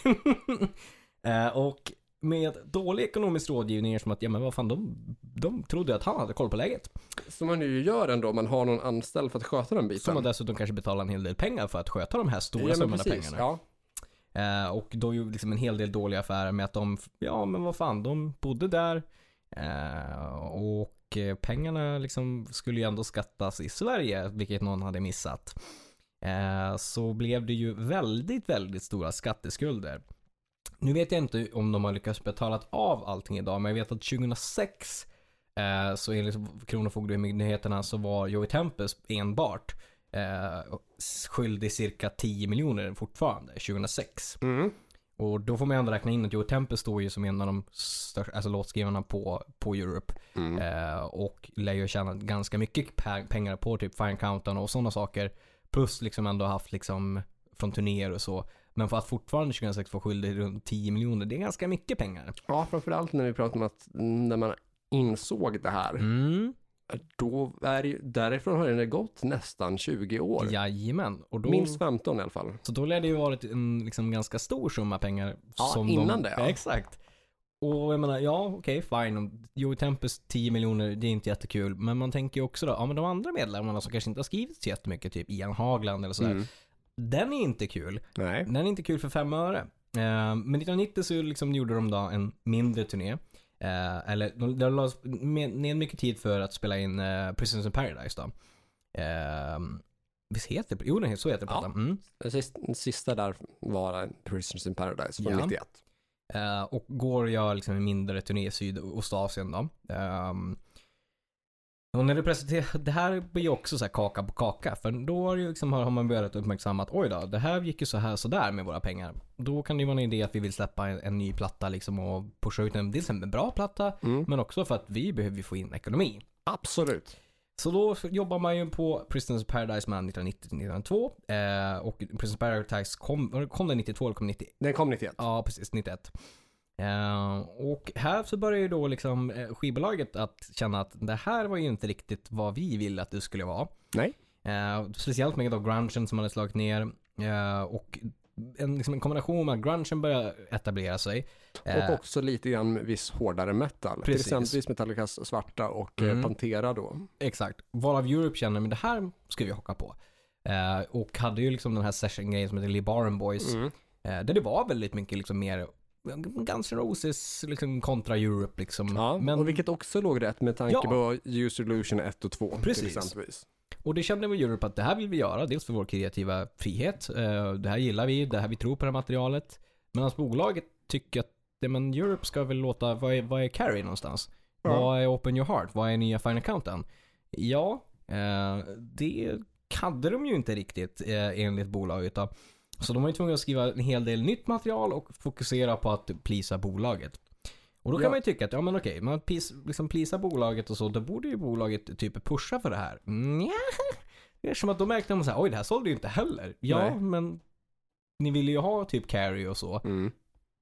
[SPEAKER 2] Eh, och med dålig ekonomisk rådgivning är det som att, ja men vad fan, de, de trodde ju att han hade koll på läget.
[SPEAKER 1] Som man ju gör ändå, man har någon anställd för att sköta den biten.
[SPEAKER 2] Som man dessutom kanske betalar en hel del pengar för att sköta de här stora
[SPEAKER 1] men
[SPEAKER 2] summorna
[SPEAKER 1] precis,
[SPEAKER 2] pengarna.
[SPEAKER 1] Ja.
[SPEAKER 2] Eh, och då gjorde liksom en hel del dåliga affärer med att de, ja men vad fan, de bodde där. Eh, och eh, pengarna liksom skulle ju ändå skattas i Sverige, vilket någon hade missat. Eh, så blev det ju väldigt, väldigt stora skatteskulder. Nu vet jag inte om de har lyckats betala av allting idag, men jag vet att 2006 eh, så enligt Kronofogdemyndigheterna så var Joey Tempus enbart eh, skyldig cirka 10 miljoner fortfarande 2006.
[SPEAKER 1] Mm.
[SPEAKER 2] Och då får man ju ändå räkna in att Joe Temple står ju som en av de största alltså låtskrivarna på, på Europe.
[SPEAKER 1] Mm.
[SPEAKER 2] Eh, och lär ju ha tjänat ganska mycket pe- pengar på typ Fine Countdown och sådana saker. Plus liksom ändå haft liksom från turnéer och så. Men för att fortfarande 2006 få skyldig runt 10 miljoner, det är ganska mycket pengar.
[SPEAKER 1] Ja, framförallt när vi pratar om att mm, när man insåg det här,
[SPEAKER 2] Mm.
[SPEAKER 1] då är det, ju- därifrån har det gått nästan 20 år.
[SPEAKER 2] Jajamän. Och då,
[SPEAKER 1] Minst 15 i alla fall.
[SPEAKER 2] Så då lär det ju varit en liksom, ganska stor summa pengar.
[SPEAKER 1] Ja,
[SPEAKER 2] som
[SPEAKER 1] innan
[SPEAKER 2] de,
[SPEAKER 1] det, ja.
[SPEAKER 2] Exakt. Och jag menar, ja okej fine. Om Joey Tempest 10 miljoner, det är inte jättekul. Men man tänker ju också då, ja men de andra medlemmarna som kanske inte har skrivit så jättemycket, typ Ian Hagland eller sådär.
[SPEAKER 1] Mm.
[SPEAKER 2] Den är inte kul.
[SPEAKER 1] Nej.
[SPEAKER 2] Den är inte kul för fem öre. Eh, Men 1990 så liksom gjorde de då en mindre turné. Eh, eller de, de la med- ner mycket tid för att spela in eh, Prisoners in Paradise då. Eh, visst heter det? Jo, den heter, så heter det.
[SPEAKER 1] Ja.
[SPEAKER 2] plattan. Mm.
[SPEAKER 1] Den sista, den sista där var Prisoners in Paradise från
[SPEAKER 2] Ja.
[SPEAKER 1] 91.
[SPEAKER 2] Eh, och går jag liksom en mindre turné i Sydostasien då. Ehm, och när det presenteras, det här blir ju också så här kaka på kaka. För då har, ju liksom, har man börjat uppmärksamma att oj då, det här gick ju så här sådär med våra pengar. Då kan det ju vara en idé att vi vill släppa en, en ny platta liksom och pusha ut en, dels en bra platta,
[SPEAKER 1] Mm.
[SPEAKER 2] men också för att vi behöver ju få in ekonomi.
[SPEAKER 1] Absolut.
[SPEAKER 2] Så då jobbar man ju på Prisoners of Paradise mellan 1990-1992 eh, och Prisoners of Paradise kom, kom den 92 eller kom 91?
[SPEAKER 1] Den kom 91.
[SPEAKER 2] Ja, precis. 91. Eh, och här så börjar ju då liksom eh, skivbolaget att känna att det här var ju inte riktigt vad vi ville att det skulle vara.
[SPEAKER 1] Nej.
[SPEAKER 2] Eh, speciellt med då grungen som hade slagit ner eh, och en, liksom en kombination med att grungen börjar etablera sig. Eh,
[SPEAKER 1] Och också lite grann med viss hårdare metal.
[SPEAKER 2] Precis.
[SPEAKER 1] Till exempel Metallicas Svarta och eh,
[SPEAKER 2] Mm.
[SPEAKER 1] Pantera då.
[SPEAKER 2] Exakt. Varav Europe känner, men det här ska vi haka på. Eh, och hade ju liksom den här session-grejen som heter Lee Baron Boys.
[SPEAKER 1] Mm.
[SPEAKER 2] Eh, där det var väldigt mycket liksom mer Guns N' Roses liksom kontra Europe liksom.
[SPEAKER 1] Ja,
[SPEAKER 2] men,
[SPEAKER 1] och vilket också låg rätt med tanke
[SPEAKER 2] Ja.
[SPEAKER 1] på User Illusion 1 och 2.
[SPEAKER 2] Precis.
[SPEAKER 1] Till exempelvis.
[SPEAKER 2] Och det kände vi i Europe att det här vill vi göra, dels för vår kreativa frihet. eh, Det här gillar vi, det här vi tror på det här materialet. Medan bolaget tycker att ja, men Europe ska väl låta, vad är, vad är Carrie någonstans?
[SPEAKER 1] Ja.
[SPEAKER 2] Vad är Open Your Heart? Vad är nya Final Countdown? Ja, eh, det hade de ju inte riktigt eh, enligt bolaget. Då. Så de var ju tvungna att skriva en hel del nytt material och fokusera på att plisa bolaget. Och då kan
[SPEAKER 1] Ja.
[SPEAKER 2] man ju tycka att, ja men okej, man pis, liksom plisar bolaget och så, då borde ju bolaget typ pusha för det här. Mm, Nja. Det är som att då märkte de så här, oj det här sålde ju inte heller. Ja,
[SPEAKER 1] Nej.
[SPEAKER 2] men ni ville ju ha typ Carrie och så.
[SPEAKER 1] Mm.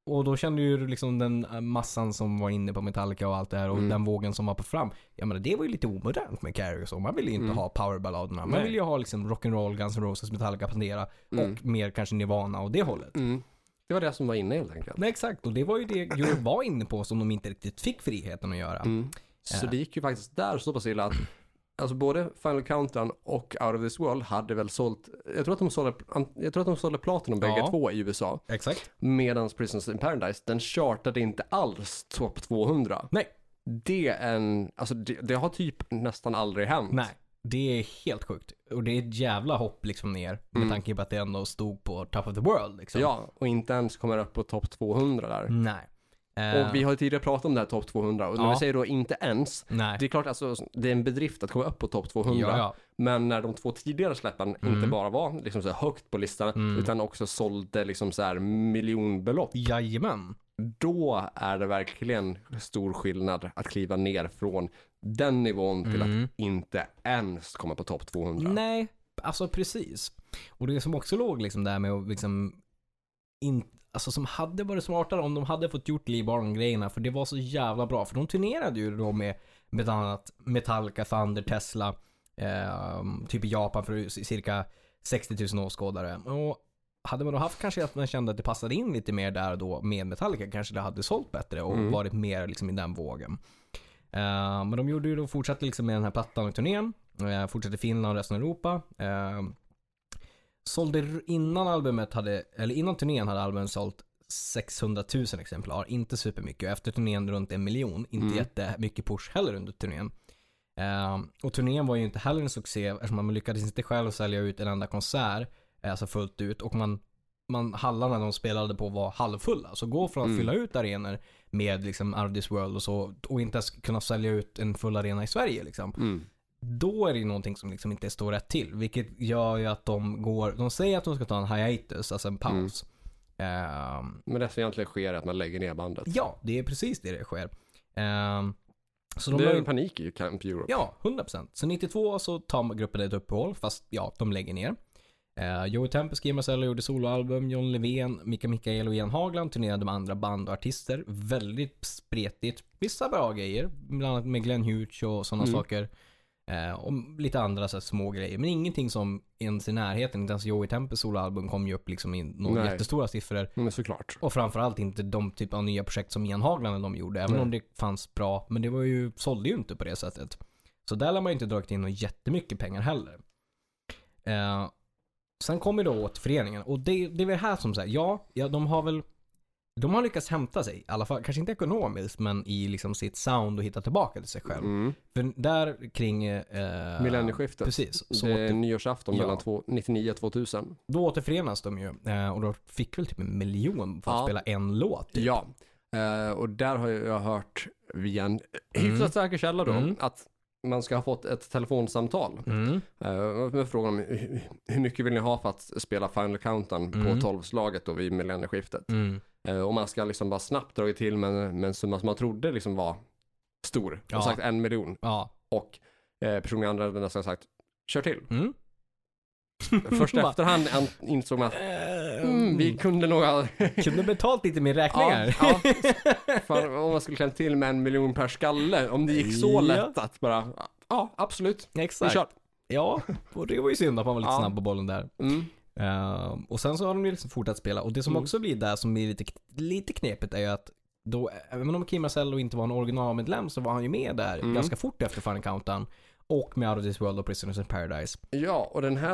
[SPEAKER 2] Och då kände ju liksom den eh, massan som var inne på Metallica och allt det här och
[SPEAKER 1] Mm.
[SPEAKER 2] den vågen som var på fram. Ja men det var ju lite omodernt med Carrie och så. Man ville ju inte
[SPEAKER 1] Mm.
[SPEAKER 2] ha powerballaderna. Man
[SPEAKER 1] Nej.
[SPEAKER 2] ville ju ha liksom rock'n'roll, Guns N' Roses, Metallica, Pantera
[SPEAKER 1] Mm.
[SPEAKER 2] och mer kanske Nirvana och det hållet.
[SPEAKER 1] Mm. Det var det som var inne helt enkelt.
[SPEAKER 2] Nej exakt, och det var ju det Europe var inne på som de inte riktigt fick friheten att göra.
[SPEAKER 1] Mm. Så
[SPEAKER 2] Ja.
[SPEAKER 1] det gick ju faktiskt där så pass illa att alltså både Final Countdown och Out of This World hade väl sålt, jag tror att de sålde, jag tror att de sålde platinum
[SPEAKER 2] Ja.
[SPEAKER 1] bägge två i USA.
[SPEAKER 2] Exakt.
[SPEAKER 1] Medan Prisons in Paradise, den chartade inte alls topp 200.
[SPEAKER 2] Nej.
[SPEAKER 1] Det är en, alltså det, det har typ nästan aldrig hänt.
[SPEAKER 2] Nej, det är helt sjukt. Och det är ett jävla hopp liksom ner med
[SPEAKER 1] Mm.
[SPEAKER 2] tanke på att det ändå stod på top of the world liksom.
[SPEAKER 1] Ja, och inte ens kommer upp på topp 200 där.
[SPEAKER 2] Nej. Eh,
[SPEAKER 1] Och vi har ju tidigare pratat om det här topp 200 och när
[SPEAKER 2] Ja.
[SPEAKER 1] vi säger då inte ens,
[SPEAKER 2] Nej.
[SPEAKER 1] det är klart alltså det är en bedrift att komma upp på topp 200.
[SPEAKER 2] ja, ja.
[SPEAKER 1] Men när de två tidigare släppen inte
[SPEAKER 2] Mm.
[SPEAKER 1] bara var liksom så här högt på listan
[SPEAKER 2] Mm.
[SPEAKER 1] utan också sålde liksom så här miljonbelopp.
[SPEAKER 2] Jajamän.
[SPEAKER 1] Då är det verkligen stor skillnad att kliva ner från den nivån till
[SPEAKER 2] Mm.
[SPEAKER 1] att inte ens komma på topp 200.
[SPEAKER 2] Nej, alltså precis. Och det som också låg liksom där med att liksom in, alltså som hade varit smartare om de hade fått gjort Lee Baron-grejerna för det var så jävla bra. För de turnerade ju då med bland annat Metallica, Thunder, Tesla, ehm, typ i Japan för cirka 60 000 åskådare. Och hade man då haft kanske att man kände att det passade in lite mer där då med Metallica kanske det hade sålt bättre och
[SPEAKER 1] Mm.
[SPEAKER 2] varit mer liksom i den vågen. Eh, men de gjorde ju då, fortsatte liksom med den här plattan och turnén. Eh, fortsatte i Finland och resten av Europa. Eh, sålde r- innan albumet hade, eller innan turnén hade albumet sålt 600 000 exemplar. Inte supermycket. Och efter turnén runt en miljon. Inte
[SPEAKER 1] Mm.
[SPEAKER 2] jättemycket push heller under turnén. Eh, och turnén var ju inte heller en succé eftersom man lyckades inte själv sälja ut en enda konsert. eh, Alltså fullt ut. Och man, man hallarna de spelade på var halvfulla. Så gå från att
[SPEAKER 1] Mm.
[SPEAKER 2] fylla ut arenor med liksom Out of this world och så och inte ens kunna sälja ut en full arena i Sverige liksom.
[SPEAKER 1] Mm.
[SPEAKER 2] Då är det ju någonting som liksom inte står rätt till. Vilket gör ju att de går, de säger att de ska ta en hiatus, alltså en paus.
[SPEAKER 1] Mm.
[SPEAKER 2] Ehm,
[SPEAKER 1] Men det som egentligen sker är att man lägger ner bandet.
[SPEAKER 2] ja, det är precis det det sker. Ehm, så de
[SPEAKER 1] det
[SPEAKER 2] la
[SPEAKER 1] är
[SPEAKER 2] ju-
[SPEAKER 1] en panik i Camp Europe.
[SPEAKER 2] Ja, 100%. Så 92 så tar gruppen ett uppehåll, fast ja, de lägger ner. Eh, Joey Tempest, Kim Marcello gjorde soloalbum, John Levén, Mika Mikael och Ian Hagland turnerade med andra band och artister. Väldigt spretigt. Vissa bra grejer, bland annat med Glenn Hughes och sådana
[SPEAKER 1] Mm.
[SPEAKER 2] saker. Eh, och lite andra så här, små grejer. Men ingenting som ens i närheten, inte ens Joey Tempest soloalbum kom ju upp liksom i några
[SPEAKER 1] Nej.
[SPEAKER 2] jättestora siffror.
[SPEAKER 1] Men Mm, såklart.
[SPEAKER 2] Och framförallt inte de typ av nya projekt som Ian Hagland och de gjorde. Även
[SPEAKER 1] Nej.
[SPEAKER 2] om det fanns bra, men det var ju, sålde ju inte på det sättet. Så där lär man ju inte dragit in något jättemycket pengar heller. Eh, Sen kommer då återföreningen och det, det är väl här som säger ja, ja, de har väl de har lyckats hämta sig, i alla fall, kanske inte ekonomiskt, men i liksom sitt sound och hitta tillbaka till sig själv.
[SPEAKER 1] Mm.
[SPEAKER 2] För där kring... Eh,
[SPEAKER 1] Millennieskiftet.
[SPEAKER 2] Precis. Så
[SPEAKER 1] det är
[SPEAKER 2] åter,
[SPEAKER 1] nyårsafton
[SPEAKER 2] Ja.
[SPEAKER 1] mellan två- 99 och 2000.
[SPEAKER 2] då återförenas de ju eh, och då fick väl typ en miljon för att
[SPEAKER 1] Ja.
[SPEAKER 2] spela en låt. Typ.
[SPEAKER 1] Ja, eh, och där har jag hört via en hyfsat säker källa då
[SPEAKER 2] Mm.
[SPEAKER 1] att man ska ha fått ett telefonsamtal
[SPEAKER 2] Mm.
[SPEAKER 1] eh, med frågan om hur- hur mycket vill ni ha för att spela Final Countdown
[SPEAKER 2] Mm.
[SPEAKER 1] på 12-slaget då vid millennieskiftet.
[SPEAKER 2] Mm.
[SPEAKER 1] Eh, och man ska liksom bara snabbt dra till med, en- med en summa som man trodde liksom var stor.
[SPEAKER 2] Ja.
[SPEAKER 1] Och sagt en miljon.
[SPEAKER 2] Ja.
[SPEAKER 1] Och eh, personen i andra änden nästan sagt kör till.
[SPEAKER 2] Mm.
[SPEAKER 1] Först i
[SPEAKER 2] Bara-
[SPEAKER 1] efterhand an- insåg man att mm, vi kunde nog ha
[SPEAKER 2] Kunde betalt lite mer räkningar.
[SPEAKER 1] Ja, ja. Fan, om man skulle klämma till med en miljon per skalle, om det gick så
[SPEAKER 2] Ja.
[SPEAKER 1] lätt att bara, ja absolut, vi
[SPEAKER 2] Exakt.
[SPEAKER 1] kör.
[SPEAKER 2] Ja, och det var ju synd att man var lite
[SPEAKER 1] Ja.
[SPEAKER 2] snabb på bollen där.
[SPEAKER 1] Mm.
[SPEAKER 2] Ehm, och sen så har de ju liksom fortsatt spela och det som
[SPEAKER 1] Mm.
[SPEAKER 2] också blir där som blir lite, lite knepigt är ju att då, även om Kim Marcello inte var en originalmedlem så var han ju med där
[SPEAKER 1] Mm.
[SPEAKER 2] ganska fort efter Final Countdown och med Out of This World och Prisoners in Paradise.
[SPEAKER 1] Ja, och den här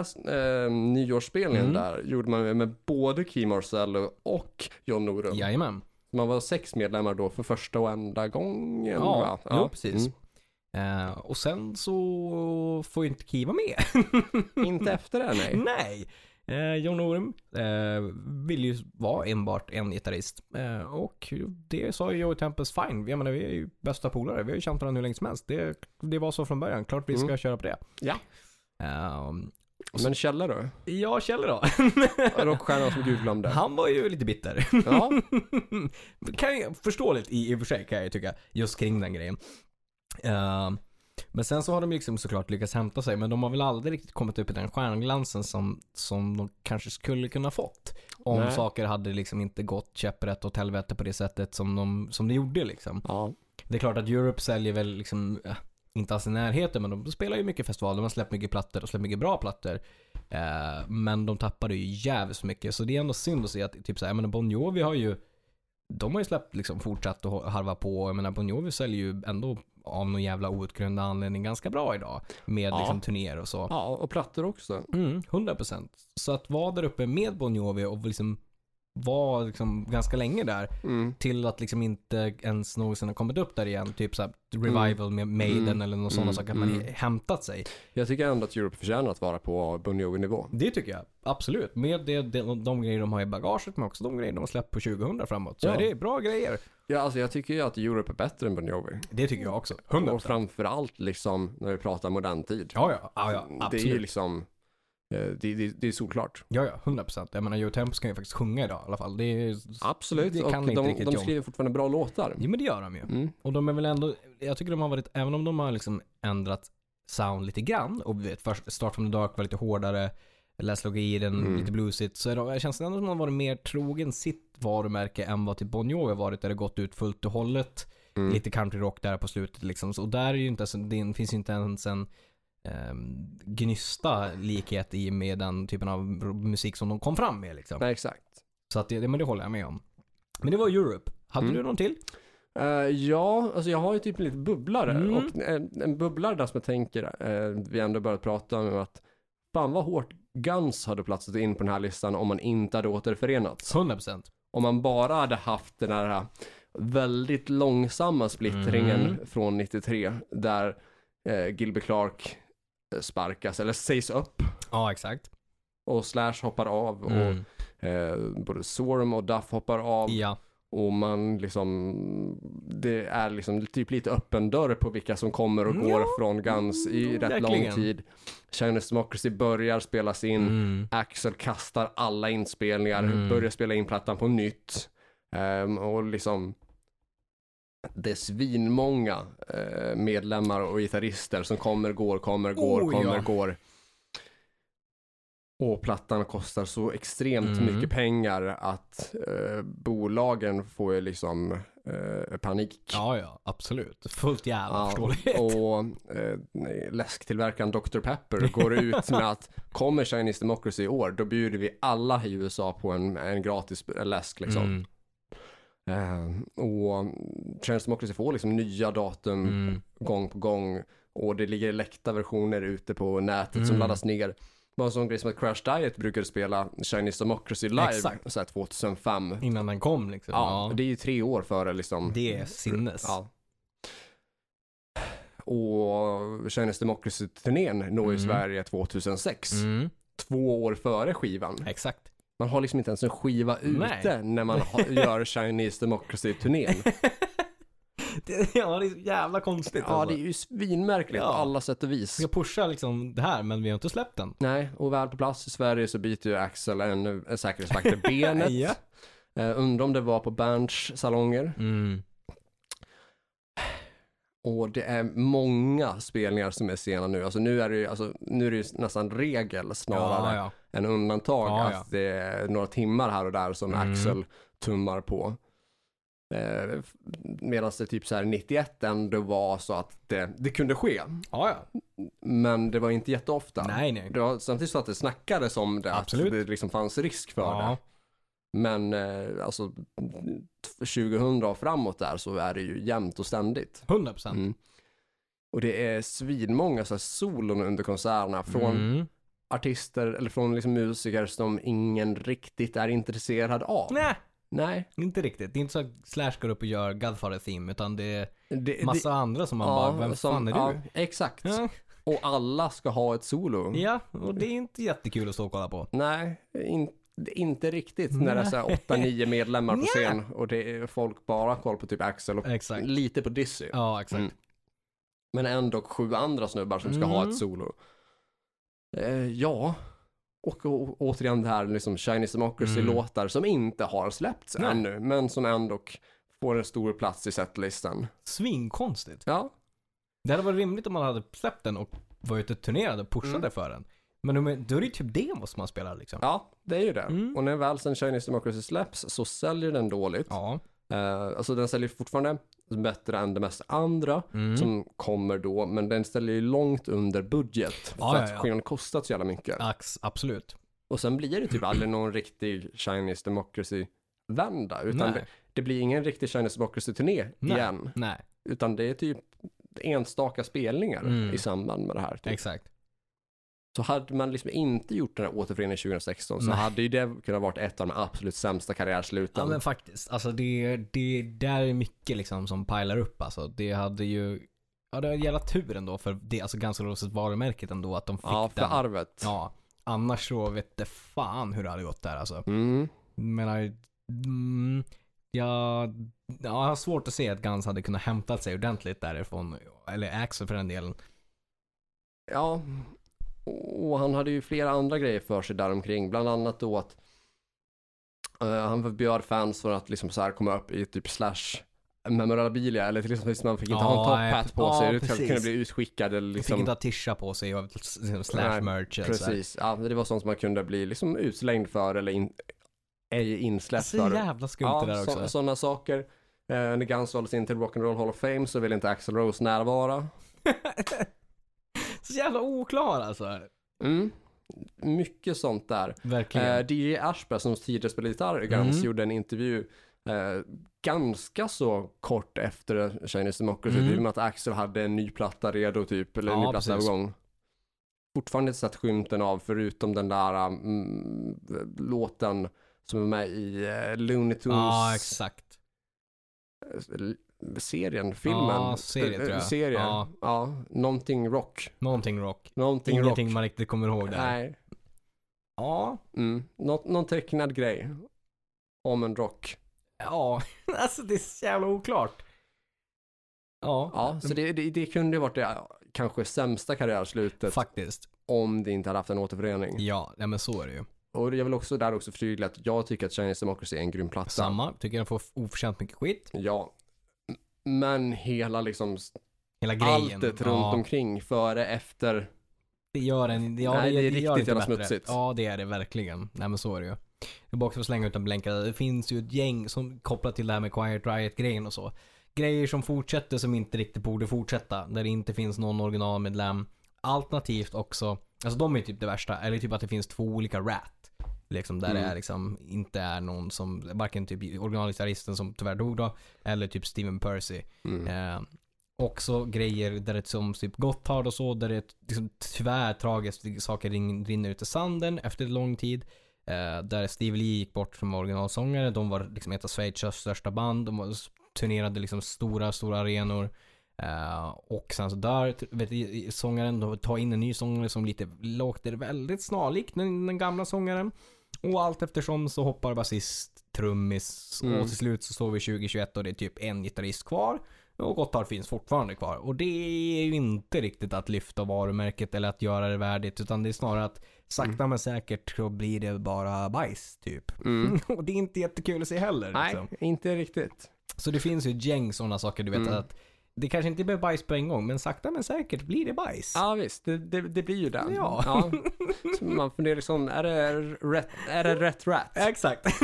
[SPEAKER 1] eh, nyårsspelningen
[SPEAKER 2] Mm.
[SPEAKER 1] där gjorde man ju med både Kim Marcello och John Norum.
[SPEAKER 2] Jajamän.
[SPEAKER 1] Man var sex medlemmar då för första och enda gången.
[SPEAKER 2] Ja,
[SPEAKER 1] va?
[SPEAKER 2] jo, precis.
[SPEAKER 1] Mm.
[SPEAKER 2] Ehm, och sen så får ju inte Kim vara med.
[SPEAKER 1] Inte efter det, nej.
[SPEAKER 2] Nej! Eh, John Norum eh, vill ju vara enbart en gitarrist. Eh, och det sa ju Joey Tempest fine. Jag menar, vi är ju bästa polare. Vi har ju känt varandra hur länge som helst. Det, det var så från början. Klart vi ska
[SPEAKER 1] Mm.
[SPEAKER 2] köra på det.
[SPEAKER 1] Ja.
[SPEAKER 2] Ehm,
[SPEAKER 1] Men Kjelle då?
[SPEAKER 2] ja, Kjell då?
[SPEAKER 1] Rockstjärnan som Gud glömde.
[SPEAKER 2] Han var ju lite bitter.
[SPEAKER 1] Ja,
[SPEAKER 2] kan jag, förståeligt i i och för sig kan jag ju tycka. Just kring den grejen. Ehm, men sen så har de ju liksom såklart lyckats hämta sig. Men de har väl aldrig riktigt kommit upp i den stjärnglansen som, som de kanske skulle kunna fått. Om
[SPEAKER 1] Nej.
[SPEAKER 2] saker hade liksom inte gått käpprätt åt helvete på det sättet som de, som de gjorde liksom.
[SPEAKER 1] ja.
[SPEAKER 2] Det är klart att Europe säljer väl liksom, eh, inte alls i närheten, men de spelar ju mycket festivaler, de har släppt mycket plattor och släppt mycket bra plattor. Eh, men de tappade ju jävligt så mycket, så det är ändå synd att se att typ såhär, jag menar Bon Jovi har ju, de har ju släppt liksom fortsatt och harva på, och jag menar Bon Jovi säljer ju ändå av någon jävla outgrundad anledning ganska bra idag. Med
[SPEAKER 1] Ja.
[SPEAKER 2] liksom turnéer och så.
[SPEAKER 1] ja, och plattor också.
[SPEAKER 2] Mm, 100%. Så att vara där uppe med Bon Jovi och liksom vara liksom ganska länge där,
[SPEAKER 1] Mm.
[SPEAKER 2] till att liksom inte ens någonsin har kommit upp där igen. Typ såhär revival med Maiden
[SPEAKER 1] Mm.
[SPEAKER 2] eller någon sådana
[SPEAKER 1] Mm.
[SPEAKER 2] saker. Att man
[SPEAKER 1] Mm.
[SPEAKER 2] hämtat sig.
[SPEAKER 1] Jag tycker ändå att Europe förtjänar att vara på Bon Jovi-nivå.
[SPEAKER 2] Det tycker jag. Absolut. Med det, de, de grejer de har i bagaget men också de grejer de har släppt på 2000 framåt. Så
[SPEAKER 1] Ja.
[SPEAKER 2] är det bra grejer.
[SPEAKER 1] Ja, alltså jag tycker ju att Europe är bättre än Bon Jovi.
[SPEAKER 2] Det tycker jag också.
[SPEAKER 1] Och framförallt liksom när vi pratar modern tid.
[SPEAKER 2] Ja, ja. ja, ja
[SPEAKER 1] det är ju
[SPEAKER 2] absolut.
[SPEAKER 1] liksom, eh, det, det, det är solklart.
[SPEAKER 2] Ja, ja. 100%. Jag menar, Joe Tempest kan ju faktiskt sjunga idag i alla fall. Det är...
[SPEAKER 1] Absolut,
[SPEAKER 2] Det
[SPEAKER 1] och
[SPEAKER 2] kan inte
[SPEAKER 1] de,
[SPEAKER 2] riktigt
[SPEAKER 1] de
[SPEAKER 2] jag.
[SPEAKER 1] skriver fortfarande bra låtar.
[SPEAKER 2] Jo, men det gör de ju.
[SPEAKER 1] Mm.
[SPEAKER 2] Och de är väl ändå, jag tycker de har varit, även om de har liksom ändrat sound lite grann och vi vet, först Start from the Dark var lite hårdare, Last Log Eden,
[SPEAKER 1] Mm.
[SPEAKER 2] lite bluesigt, så är de, känns det ändå som att de har varit mer trogen sitt varumärke än vad typ Bon Jovi har varit, där det gått ut fullt och hållet,
[SPEAKER 1] Mm.
[SPEAKER 2] lite countryrock där på slutet liksom. Så- Och där är ju inte, ens- det finns ju inte ens en ehm, gnista likhet i med den typen av musik som de kom fram med liksom.
[SPEAKER 1] Nej, exakt.
[SPEAKER 2] Så att det, det- men det håller jag med om. Men det var Europe. Hade
[SPEAKER 1] Mm.
[SPEAKER 2] du någon till?
[SPEAKER 1] Eh, ja, alltså jag har ju typ en liten bubblare.
[SPEAKER 2] Mm.
[SPEAKER 1] Och en, en bubblare där som jag tänker, eh, vi ändå börjat prata om att fan vad hårt Guns hade platsat in på den här listan om man inte hade återförenats.
[SPEAKER 2] 100%.
[SPEAKER 1] Om man bara hade haft den här väldigt långsamma splittringen
[SPEAKER 2] Mm.
[SPEAKER 1] från 93 där eh, Gilbert Clark eh, sparkas eller sägs upp
[SPEAKER 2] Ja, exakt.
[SPEAKER 1] och Slash hoppar av och
[SPEAKER 2] Mm.
[SPEAKER 1] eh, både Sorum och Duff hoppar av
[SPEAKER 2] Ja.
[SPEAKER 1] och man liksom det är liksom typ lite öppen dörr på vilka som kommer och
[SPEAKER 2] Ja,
[SPEAKER 1] går från Guns i
[SPEAKER 2] mm,
[SPEAKER 1] rätt lång
[SPEAKER 2] verkligen.
[SPEAKER 1] tid. Chinese Democracy börjar spelas in
[SPEAKER 2] Mm.
[SPEAKER 1] Axel kastar alla inspelningar,
[SPEAKER 2] Mm.
[SPEAKER 1] börjar spela in plattan på nytt. Ehm, och liksom det är svinmånga eh, medlemmar och gitarrister som kommer, går, kommer, går,
[SPEAKER 2] Oh,
[SPEAKER 1] kommer,
[SPEAKER 2] ja.
[SPEAKER 1] går. Och plattan kostar så extremt
[SPEAKER 2] Mm.
[SPEAKER 1] mycket pengar att eh, bolagen får ju liksom eh, panik.
[SPEAKER 2] Ja, ja, absolut. Fullt jävla
[SPEAKER 1] Ja,
[SPEAKER 2] förståeligt.
[SPEAKER 1] och eh, läsktillverkaren Dr. Pepper går ut med att kommer Chinese Democracy i år, då bjuder vi alla i USA på en, en gratis läsk. Liksom.
[SPEAKER 2] Mm,
[SPEAKER 1] Eh, och Chinese Democracy får liksom nya datum
[SPEAKER 2] mm,
[SPEAKER 1] gång på gång och det ligger läckta versioner ute på nätet som
[SPEAKER 2] Mm.
[SPEAKER 1] laddas ner. Bara en sån grej som att Crash Diet brukade spela Chinese Democracy live
[SPEAKER 2] Exakt.
[SPEAKER 1] så här 2005.
[SPEAKER 2] Innan den kom liksom.
[SPEAKER 1] Ja, det är ju tre år före liksom.
[SPEAKER 2] Det är sinnes.
[SPEAKER 1] Ja. Och Chinese Democracy-turnén når ju
[SPEAKER 2] Mm.
[SPEAKER 1] Sverige 2006.
[SPEAKER 2] Mm,
[SPEAKER 1] Två år före skivan.
[SPEAKER 2] exakt.
[SPEAKER 1] Man har liksom inte ens en skiva
[SPEAKER 2] Nej.
[SPEAKER 1] ute när man ha, gör Chinese Democracy-turnén.
[SPEAKER 2] Det- ja, det är så jävla konstigt
[SPEAKER 1] Ja, det
[SPEAKER 2] alltså.
[SPEAKER 1] är ju svinmärkligt
[SPEAKER 2] Ja.
[SPEAKER 1] på alla sätt och vis.
[SPEAKER 2] Vi ska pusha liksom det här, men vi har inte släppt den.
[SPEAKER 1] Nej, och väl på plats i Sverige så byter ju Axel en, en säkerhetsvakt i benet.
[SPEAKER 2] Ja.
[SPEAKER 1] Eh, undrar om det var på Berns salonger.
[SPEAKER 2] Mm.
[SPEAKER 1] Och det är många spelningar som är sena nu. Alltså nu är det ju, alltså, nu är det ju nästan regel snarare
[SPEAKER 2] Ja, ja.
[SPEAKER 1] än undantag
[SPEAKER 2] Ja, ja.
[SPEAKER 1] att det är några timmar här och där som
[SPEAKER 2] Mm.
[SPEAKER 1] Axel tummar på. Eh, Medan det typ så här 91 ändå var så att det, det kunde ske.
[SPEAKER 2] Ja, ja.
[SPEAKER 1] Men det var inte jätteofta.
[SPEAKER 2] Nej, nej.
[SPEAKER 1] Det var, samtidigt så att det snackades om det,
[SPEAKER 2] Absolut.
[SPEAKER 1] att det liksom fanns risk för
[SPEAKER 2] Ja.
[SPEAKER 1] det. Men eh, alltså t- 2000 och framåt där så är det ju jämnt och ständigt.
[SPEAKER 2] 100 procent.
[SPEAKER 1] Mm. Och det är svinmånga så här solon under konserterna från
[SPEAKER 2] Mm.
[SPEAKER 1] artister eller från liksom musiker som ingen riktigt är intresserad av.
[SPEAKER 2] Nej,
[SPEAKER 1] Nej.
[SPEAKER 2] inte riktigt. Det är inte så att Slash går upp och gör Godfather Theme, utan det är
[SPEAKER 1] Det,
[SPEAKER 2] massa andra som man bara, vem
[SPEAKER 1] som-
[SPEAKER 2] fan är
[SPEAKER 1] ja,
[SPEAKER 2] du?
[SPEAKER 1] exakt.
[SPEAKER 2] Ja.
[SPEAKER 1] Och alla ska ha ett solo.
[SPEAKER 2] ja, och det är inte jättekul att stå och kolla på.
[SPEAKER 1] Nej, in, inte riktigt när det är så här 8-9 medlemmar på scen och det är folk bara koll på typ Axel och
[SPEAKER 2] Exakt.
[SPEAKER 1] lite på Dizzy.
[SPEAKER 2] Ja, exakt.
[SPEAKER 1] Mm. Men ändå sju andra snubbar som ska ha
[SPEAKER 2] Mm.
[SPEAKER 1] ett solo. Eh, ja, och, å- återigen det här liksom Chinese Democracy-låtar som inte har släppts
[SPEAKER 2] Mm. Nej.
[SPEAKER 1] ännu, men som ändå får en stor plats i setlistan.
[SPEAKER 2] Svinkonstigt.
[SPEAKER 1] Ja,
[SPEAKER 2] Det hade varit rimligt om man hade släppt den och var ute och turnerade och pushade för den. Men de är- då är det ju typ demos som man spelar liksom.
[SPEAKER 1] ja, det är ju det.
[SPEAKER 2] Mm.
[SPEAKER 1] Och när väl sen Chinese Democracy släpps så säljer den dåligt.
[SPEAKER 2] Ja.
[SPEAKER 1] Eh, alltså den säljer fortfarande bättre än det mesta andra
[SPEAKER 2] Mm.
[SPEAKER 1] som kommer då, men den ställer ju långt under budget för
[SPEAKER 2] Ja, ja,
[SPEAKER 1] att
[SPEAKER 2] ja.
[SPEAKER 1] skivan kostat så jävla mycket.
[SPEAKER 2] Ax, absolut.
[SPEAKER 1] Och sen blir det typ aldrig någon riktig Chinese Democracy-vända, utan
[SPEAKER 2] Nej.
[SPEAKER 1] det, det blir ingen riktig Chinese Democracy-turné
[SPEAKER 2] Nej.
[SPEAKER 1] igen,
[SPEAKER 2] Nej,
[SPEAKER 1] utan det är typ enstaka spelningar
[SPEAKER 2] Mm.
[SPEAKER 1] i samband med det här. Typ.
[SPEAKER 2] exakt.
[SPEAKER 1] Så hade man liksom inte gjort den här återföreningen 2016 så
[SPEAKER 2] Nej.
[SPEAKER 1] hade ju det kunnat varit ett av de absolut sämsta
[SPEAKER 2] Ja
[SPEAKER 1] karriärsluten.
[SPEAKER 2] men faktiskt. Alltså det, det där är mycket liksom som pilar upp alltså. Det hade ju, ja det var jävla tur ändå för det, alltså ganska låset varumärket ändå att de fick
[SPEAKER 1] Ja, för
[SPEAKER 2] den.
[SPEAKER 1] arvet.
[SPEAKER 2] Ja, annars så vet det fan hur det hade gått där alltså.
[SPEAKER 1] Mm.
[SPEAKER 2] menar, mm, jag, ja, jag har svårt att se att Guns hade kunnat hämta sig ordentligt därifrån. Eller Axel för den delen.
[SPEAKER 1] Ja, och han hade ju flera andra grejer för sig däromkring. Bland annat då att eh, han förbjöd fans från att liksom så här komma upp i typ slash memorabilia eller till exempel man fick inte ha
[SPEAKER 2] Ja,
[SPEAKER 1] en top hat på
[SPEAKER 2] ja,
[SPEAKER 1] sig. Du
[SPEAKER 2] precis.
[SPEAKER 1] kunde bli utskickad eller
[SPEAKER 2] Fick
[SPEAKER 1] liksom.
[SPEAKER 2] inte ha tisha på sig och liksom, slash
[SPEAKER 1] Nej,
[SPEAKER 2] merch. eller så här.
[SPEAKER 1] Precis, ja, det var sånt som man kunde bli liksom utslängd för eller in, ej insläppt
[SPEAKER 2] Så
[SPEAKER 1] för.
[SPEAKER 2] Alltså, jävla skumt det där också.
[SPEAKER 1] sådana saker. Eh, när Guns valdes in till Rock'n'Roll Hall of Fame så ville inte Axl Rose närvara.
[SPEAKER 2] Så jävla oklar alltså.
[SPEAKER 1] Mm. Mycket sånt där.
[SPEAKER 2] Verkligen.
[SPEAKER 1] Eh, DJ Ashberg som tidigare spelade gitarr i Guns
[SPEAKER 2] Mm.
[SPEAKER 1] gjorde en intervju eh, ganska så kort efter Chinese Democracy,
[SPEAKER 2] Mm.
[SPEAKER 1] i och med att Axel hade en ny platta redo typ, eller en
[SPEAKER 2] Ja,
[SPEAKER 1] ny platta
[SPEAKER 2] precis.
[SPEAKER 1] på gång. Fortfarande inte sett skymten av, förutom den där mm, låten som är med i eh, Looney
[SPEAKER 2] ja,
[SPEAKER 1] Tunes
[SPEAKER 2] exakt.
[SPEAKER 1] eh, serien, filmen.
[SPEAKER 2] Ja, serien,
[SPEAKER 1] Eh,
[SPEAKER 2] tror jag.
[SPEAKER 1] serien.
[SPEAKER 2] Ja.
[SPEAKER 1] Ja. någonting rock.
[SPEAKER 2] Någonting rock.
[SPEAKER 1] Någonting
[SPEAKER 2] Ingenting
[SPEAKER 1] rock.
[SPEAKER 2] man riktigt kommer ihåg där.
[SPEAKER 1] Nej.
[SPEAKER 2] Ja.
[SPEAKER 1] Mm. Nå- någon tecknad grej. Om en rock.
[SPEAKER 2] Ja. alltså det är så jävla oklart. Ja.
[SPEAKER 1] Ja, så det, det, det kunde ju varit det kanske sämsta karriärslutet
[SPEAKER 2] Faktiskt.
[SPEAKER 1] om det inte hade haft en återförening.
[SPEAKER 2] Ja, nej, men så är det ju.
[SPEAKER 1] Och jag vill också där också förtydliga att jag tycker att Chinese Democracy är en grym platta.
[SPEAKER 2] Samma. Tycker den får oförtjänt mycket skit.
[SPEAKER 1] Ja. M- Men hela liksom s-
[SPEAKER 2] Hela grejen.
[SPEAKER 1] alltet runt
[SPEAKER 2] ja,
[SPEAKER 1] omkring, före, efter.
[SPEAKER 2] Det gör en, ja,
[SPEAKER 1] Nej,
[SPEAKER 2] det,
[SPEAKER 1] det är
[SPEAKER 2] det
[SPEAKER 1] riktigt
[SPEAKER 2] gör inte
[SPEAKER 1] jävla
[SPEAKER 2] bättre.
[SPEAKER 1] smutsigt.
[SPEAKER 2] Ja, det är det verkligen. Nej men så är det ju. Jag vill bara också slänga ut en blänkare. Det finns ju ett gäng som kopplat till det här med Quiet Riot-grejen och så. Grejer som fortsätter som inte riktigt borde fortsätta. Där det inte finns någon originalmedlem. Alternativt också, alltså de är typ det värsta. Eller typ att det finns två olika rat. Liksom där det
[SPEAKER 1] Mm.
[SPEAKER 2] är liksom inte är någon som, varken typ originalgitarristen som tyvärr dog då. Eller typ Steven Percy.
[SPEAKER 1] Mm.
[SPEAKER 2] Eh, också grejer där det som typ Gotthard och så, där det liksom, tyvärr tragiskt saker rin- rinner ut i sanden efter lång tid. Eh, där Steve Lee gick bort som originalsångare. De var liksom ett av Schweiz största band. De var, turnerade liksom stora, stora arenor. Eh, och sen så där, t- vet, du, i- i- sångaren, de tar in en ny sångare som lite låter väldigt snarlikt den, den gamla sångaren. Och allt eftersom så hoppar basist, trummis
[SPEAKER 1] Mm.
[SPEAKER 2] och till slut så står vi 2021 och det är typ en gitarrist kvar. Och Gotthard finns fortfarande kvar. Och det är ju inte riktigt att lyfta varumärket eller att göra det värdigt. Utan det är snarare att sakta men säkert så blir det bara bajs typ.
[SPEAKER 1] Mm.
[SPEAKER 2] och det är inte jättekul att se heller.
[SPEAKER 1] Nej,
[SPEAKER 2] Liksom.
[SPEAKER 1] inte riktigt.
[SPEAKER 2] Så det finns ju ett gäng sådana saker du vet
[SPEAKER 1] Mm.
[SPEAKER 2] att det kanske inte blir bajs på en gång men sakta men säkert blir det bajs.
[SPEAKER 1] Ja visst, det, det, det blir ju det.
[SPEAKER 2] Ja.
[SPEAKER 1] Så Man funderar liksom, är det rätt, är det rätt rat?
[SPEAKER 2] Exakt.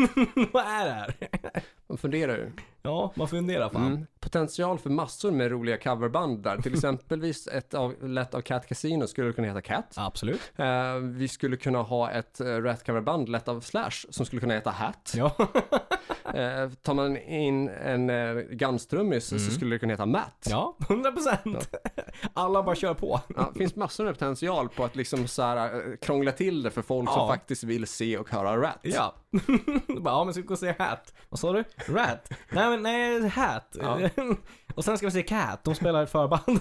[SPEAKER 2] Vad är det här?
[SPEAKER 1] Man funderar ju.
[SPEAKER 2] Ja, man funderar fan.
[SPEAKER 1] Mm. Potential för massor med roliga coverband där. Till exempelvis ett av, lätt av Cat Casino skulle kunna heta Cat.
[SPEAKER 2] Absolut.
[SPEAKER 1] Eh, vi skulle kunna ha ett uh, rätt coverband lätt av Slash som skulle kunna heta Hat.
[SPEAKER 2] Ja.
[SPEAKER 1] Eh, tar man in en uh, Guns-trummis så skulle det kunna heta Matt.
[SPEAKER 2] Mm. ja, 100 procent. Alla bara kör på.
[SPEAKER 1] Ja, det finns massor med potential på att liksom så här, eh, krångla till det för folk som
[SPEAKER 2] Ja.
[SPEAKER 1] faktiskt vill se och höra rat.
[SPEAKER 2] Ja. bara, ja men ska vi gå och se Hat? Vad sa du? Rat? Nej men nej, Hat.
[SPEAKER 1] Ja.
[SPEAKER 2] och sen ska vi se Cat, de spelar i förband.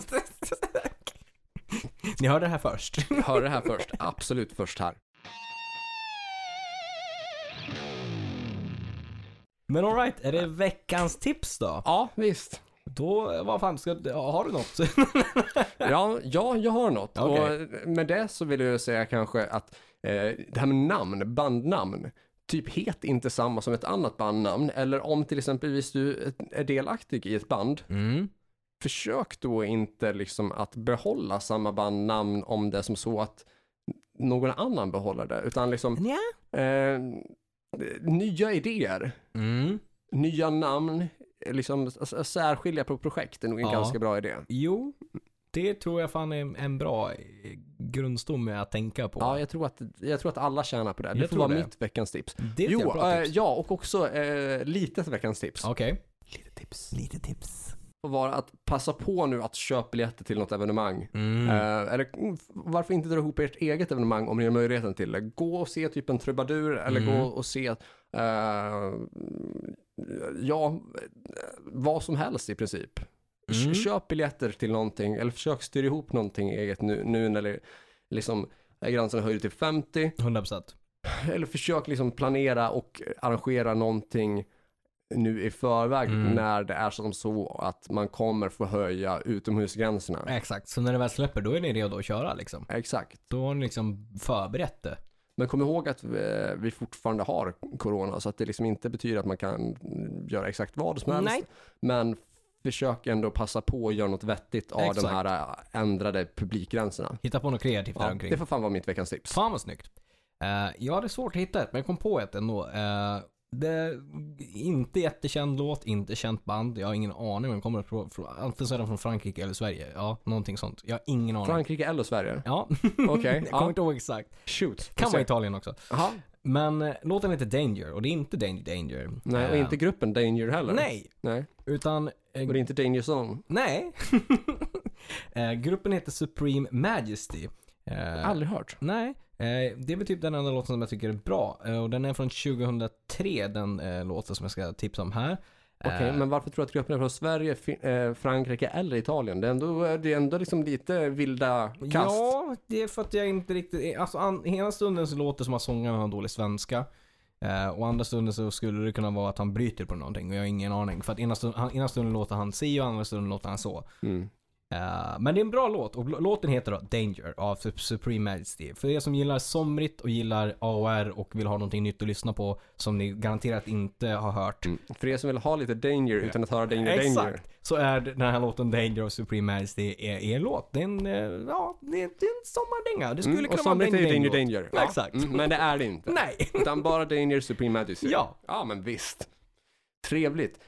[SPEAKER 2] Ni hörde det här först.
[SPEAKER 1] Hör det här först, absolut först här.
[SPEAKER 2] Men alright, är det veckans tips då?
[SPEAKER 1] Ja, visst.
[SPEAKER 2] Då, vad fan, ska, ja, har du något?
[SPEAKER 1] Ja, ja jag har något.
[SPEAKER 2] Okej.
[SPEAKER 1] Och med det så vill jag säga kanske att eh, det här med namn, bandnamn, typ het inte samma som ett annat bandnamn. Eller om till exempelvis du är delaktig i ett band,
[SPEAKER 2] Mm.
[SPEAKER 1] försök då inte liksom att behålla samma bandnamn om det är som så att någon annan behåller det. Utan liksom
[SPEAKER 2] Nja.
[SPEAKER 1] eh, nya idéer,
[SPEAKER 2] Mm.
[SPEAKER 1] nya namn, liksom s- s- särskilja på projekt är nog en
[SPEAKER 2] Ja.
[SPEAKER 1] ganska bra idé.
[SPEAKER 2] Jo, det tror jag fan är en bra eh, grundstomme att tänka på.
[SPEAKER 1] Ja, jag tror att, jag tror att alla tjänar på det. Det
[SPEAKER 2] Jag
[SPEAKER 1] får
[SPEAKER 2] tror
[SPEAKER 1] vara
[SPEAKER 2] det.
[SPEAKER 1] mitt veckans tips.
[SPEAKER 2] det är ett
[SPEAKER 1] Jo,
[SPEAKER 2] bra
[SPEAKER 1] eh,
[SPEAKER 2] tips.
[SPEAKER 1] ja, och också eh, litet veckans tips.
[SPEAKER 2] Okej.
[SPEAKER 1] Litet tips.
[SPEAKER 2] Lite tips.
[SPEAKER 1] Och vara att passa på nu att köpa biljetter till något evenemang.
[SPEAKER 2] Mm.
[SPEAKER 1] Eh, eller mm, f- varför inte dra ihop ert eget evenemang om ni har möjligheten till det? Gå och se typ en trubadur eller
[SPEAKER 2] Mm.
[SPEAKER 1] gå och se, eh, ja, eh, vad som helst i princip. K-
[SPEAKER 2] Mm.
[SPEAKER 1] Köp biljetter till någonting eller försök styra ihop någonting eget nu, nu när det liksom är gränsen höjd till 50.
[SPEAKER 2] 100%.
[SPEAKER 1] Eller försök liksom planera och arrangera någonting nu i förväg
[SPEAKER 2] Mm.
[SPEAKER 1] när det är som så att man kommer få höja utomhusgränserna.
[SPEAKER 2] Exakt, så när det väl släpper då är ni redo att köra liksom.
[SPEAKER 1] Exakt.
[SPEAKER 2] Då har ni liksom förberett det.
[SPEAKER 1] Men kom ihåg att eh, vi fortfarande har corona så att det liksom inte betyder att man kan göra exakt vad som helst.
[SPEAKER 2] Nej.
[SPEAKER 1] Men försök ändå passa på att göra något vettigt av de
[SPEAKER 2] Exakt.
[SPEAKER 1] här eh, ändrade publikgränserna.
[SPEAKER 2] Hitta på något kreativt
[SPEAKER 1] Ja,
[SPEAKER 2] däromkring.
[SPEAKER 1] det får fan vara mitt veckans tips.
[SPEAKER 2] Fan vad snyggt. Eh, jag hade svårt att hitta ett, men jag kom på ett ändå. Eh, det är inte jättekänd låt, inte känt band. Jag har ingen aning om den kommer från, från, antingen så är den från Frankrike eller Sverige. Ja, någonting sånt. Jag har ingen aning.
[SPEAKER 1] Frankrike eller Sverige?
[SPEAKER 2] ja,
[SPEAKER 1] Okej.
[SPEAKER 2] jag kommer
[SPEAKER 1] ja.
[SPEAKER 2] inte ihåg exakt.
[SPEAKER 1] Shoot.
[SPEAKER 2] Kan vara Italien också.
[SPEAKER 1] Jaha.
[SPEAKER 2] Men eh, låten heter Danger och det är inte Danger Danger.
[SPEAKER 1] Nej, och
[SPEAKER 2] Eh,
[SPEAKER 1] inte gruppen Danger heller.
[SPEAKER 2] Nej,
[SPEAKER 1] Nej.
[SPEAKER 2] utan... eh,
[SPEAKER 1] Och det är inte Danger Zone.
[SPEAKER 2] nej. Eh, gruppen heter Supreme Majesty. Eh,
[SPEAKER 1] Aldrig hört.
[SPEAKER 2] Nej, eh, det är väl typ den enda låten som jag tycker är bra. Eh, och den är från 2003, den eh, låten som jag ska tipsa om här.
[SPEAKER 1] Okej,
[SPEAKER 2] Eh,
[SPEAKER 1] men varför tror du att gruppen är från Sverige, fin- eh, Frankrike eller Italien? Det är ändå, det är ändå liksom lite vilda kast.
[SPEAKER 2] Ja, det är för att jag inte riktigt... Alltså, an, ena stunden så låter det som att sångaren har dålig svenska. Eh, och andra stunden så skulle det kunna vara att han bryter på någonting och jag har ingen aning. För att ena stunden, han, ena stunden låter han si och andra stunden låter han så.
[SPEAKER 1] Mm.
[SPEAKER 2] Eh, men det är en bra låt och lå- låten heter då Danger av Sup- Supreme Majesty. För er som gillar somrigt och gillar AOR och vill ha någonting nytt att lyssna på som ni garanterat inte har hört.
[SPEAKER 1] För er som vill ha lite Danger utan att höra Danger
[SPEAKER 2] Exakt.
[SPEAKER 1] Danger.
[SPEAKER 2] Så är det- den här låten Danger av Supreme Majesty är er låt. Det är en, eh, ja, det är det är en sommardänga. Det skulle
[SPEAKER 1] Mm, och
[SPEAKER 2] kunna vara en
[SPEAKER 1] somligt är
[SPEAKER 2] Danger
[SPEAKER 1] ju Danger
[SPEAKER 2] Danger.
[SPEAKER 1] Danger.
[SPEAKER 2] låt.
[SPEAKER 1] Ja,
[SPEAKER 2] Exakt.
[SPEAKER 1] Mm, men det är det inte.
[SPEAKER 2] Nej.
[SPEAKER 1] Utan bara Danger Supreme Majesty.
[SPEAKER 2] Ja.
[SPEAKER 1] Ja, men visst. Trevligt.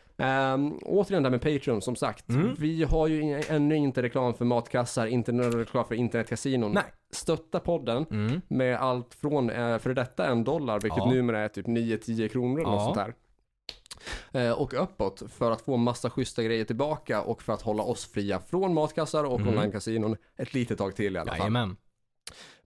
[SPEAKER 1] Um, återigen det här med Patreon, som sagt.
[SPEAKER 2] Mm.
[SPEAKER 1] Vi har ju in- ännu inte reklam för matkassar, inte någon reklam för internetkasinon.
[SPEAKER 2] Nej. Mm.
[SPEAKER 1] Stötta podden med allt från eh, för detta en dollar, vilket
[SPEAKER 2] Ja.
[SPEAKER 1] numera är typ 9-10 kronor eller
[SPEAKER 2] Ja.
[SPEAKER 1] något sånt där. eh, och uppåt för att få massa schyssta grejer tillbaka och för att hålla oss fria från matkassar och
[SPEAKER 2] Mm.
[SPEAKER 1] onlinekasinon ett litet tag till i alla fall.
[SPEAKER 2] Jajamän.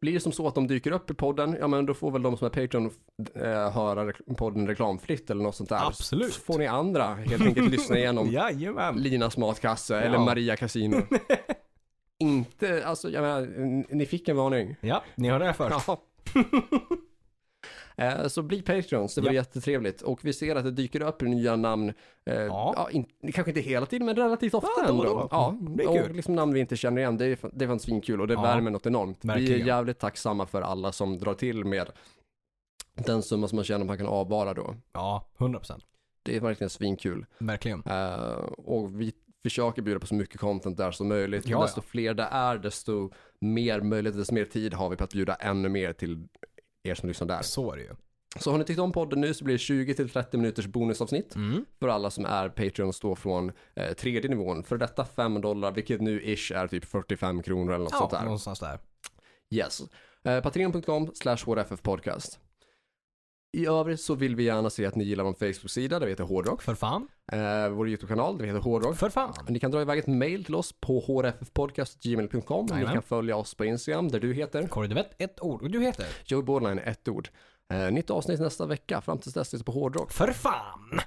[SPEAKER 1] Blir det som så att de dyker upp i podden, ja men då får väl de som är Patreon eh, höra rek- podden reklamfritt eller något sånt där.
[SPEAKER 2] Absolut.
[SPEAKER 1] Så får ni andra helt enkelt lyssna igenom
[SPEAKER 2] Jajamän.
[SPEAKER 1] Linas matkasse
[SPEAKER 2] Ja.
[SPEAKER 1] eller Maria Casino. Inte, alltså jag menar, n- ni fick en varning.
[SPEAKER 2] Ja, ni hörde det här först.
[SPEAKER 1] Ja. Eh, Så bli Patreons, det var
[SPEAKER 2] Ja.
[SPEAKER 1] jättetrevligt. Och vi ser att det dyker upp nya namn, eh,
[SPEAKER 2] Ja.
[SPEAKER 1] ja. in, kanske inte hela tiden men relativt ofta
[SPEAKER 2] Ja, då
[SPEAKER 1] ändå.
[SPEAKER 2] och då.
[SPEAKER 1] Ja,
[SPEAKER 2] Mm, det är
[SPEAKER 1] och
[SPEAKER 2] kul.
[SPEAKER 1] liksom namn vi inte känner igen, det är, fan- det är fan svinkul och det
[SPEAKER 2] Ja.
[SPEAKER 1] värmer något enormt. Vi är
[SPEAKER 2] Verkligen.
[SPEAKER 1] jävligt tacksamma för alla som drar till med den summa som man känner att man kan avvara då.
[SPEAKER 2] Ja, 100%.
[SPEAKER 1] Det är verkligen svinkul.
[SPEAKER 2] Verkligen.
[SPEAKER 1] Eh, och vi försöker bjuda på så mycket content där som möjligt.
[SPEAKER 2] Ja,
[SPEAKER 1] och desto fler det är, desto mer möjlighet, desto mer tid har vi på att bjuda ännu mer till er som lyssnar där.
[SPEAKER 2] Så är det ju.
[SPEAKER 1] Så har ni tyckt om podden nu så blir det 20-30 minuters bonusavsnitt
[SPEAKER 2] Mm.
[SPEAKER 1] för alla som är Patreons då från eh, tredje nivån. För detta 5 dollar, vilket nu ish är typ 45 kronor eller något
[SPEAKER 2] Ja,
[SPEAKER 1] sånt där.
[SPEAKER 2] någonstans där.
[SPEAKER 1] Yes. Eh, Patreon.com slash hrffpodcast. I övrigt så vill vi gärna se att ni gillar vår Facebook-sida, där vi heter Hårdrock.
[SPEAKER 2] För fan.
[SPEAKER 1] Eh, vår YouTube-kanal, där vi heter Hårdrock.
[SPEAKER 2] För fan.
[SPEAKER 1] Ni kan dra iväg ett mail till oss på hrffpodcast.gmail.com. Ni
[SPEAKER 2] Jajamän.
[SPEAKER 1] kan följa oss på Instagram där du heter
[SPEAKER 2] Korre, du vet ett ord. Och du heter?
[SPEAKER 1] Joey Borderline, ett ord. Eh, nytt avsnitt nästa vecka. Fram tills dess, sitter på hårdrock.
[SPEAKER 2] För fan.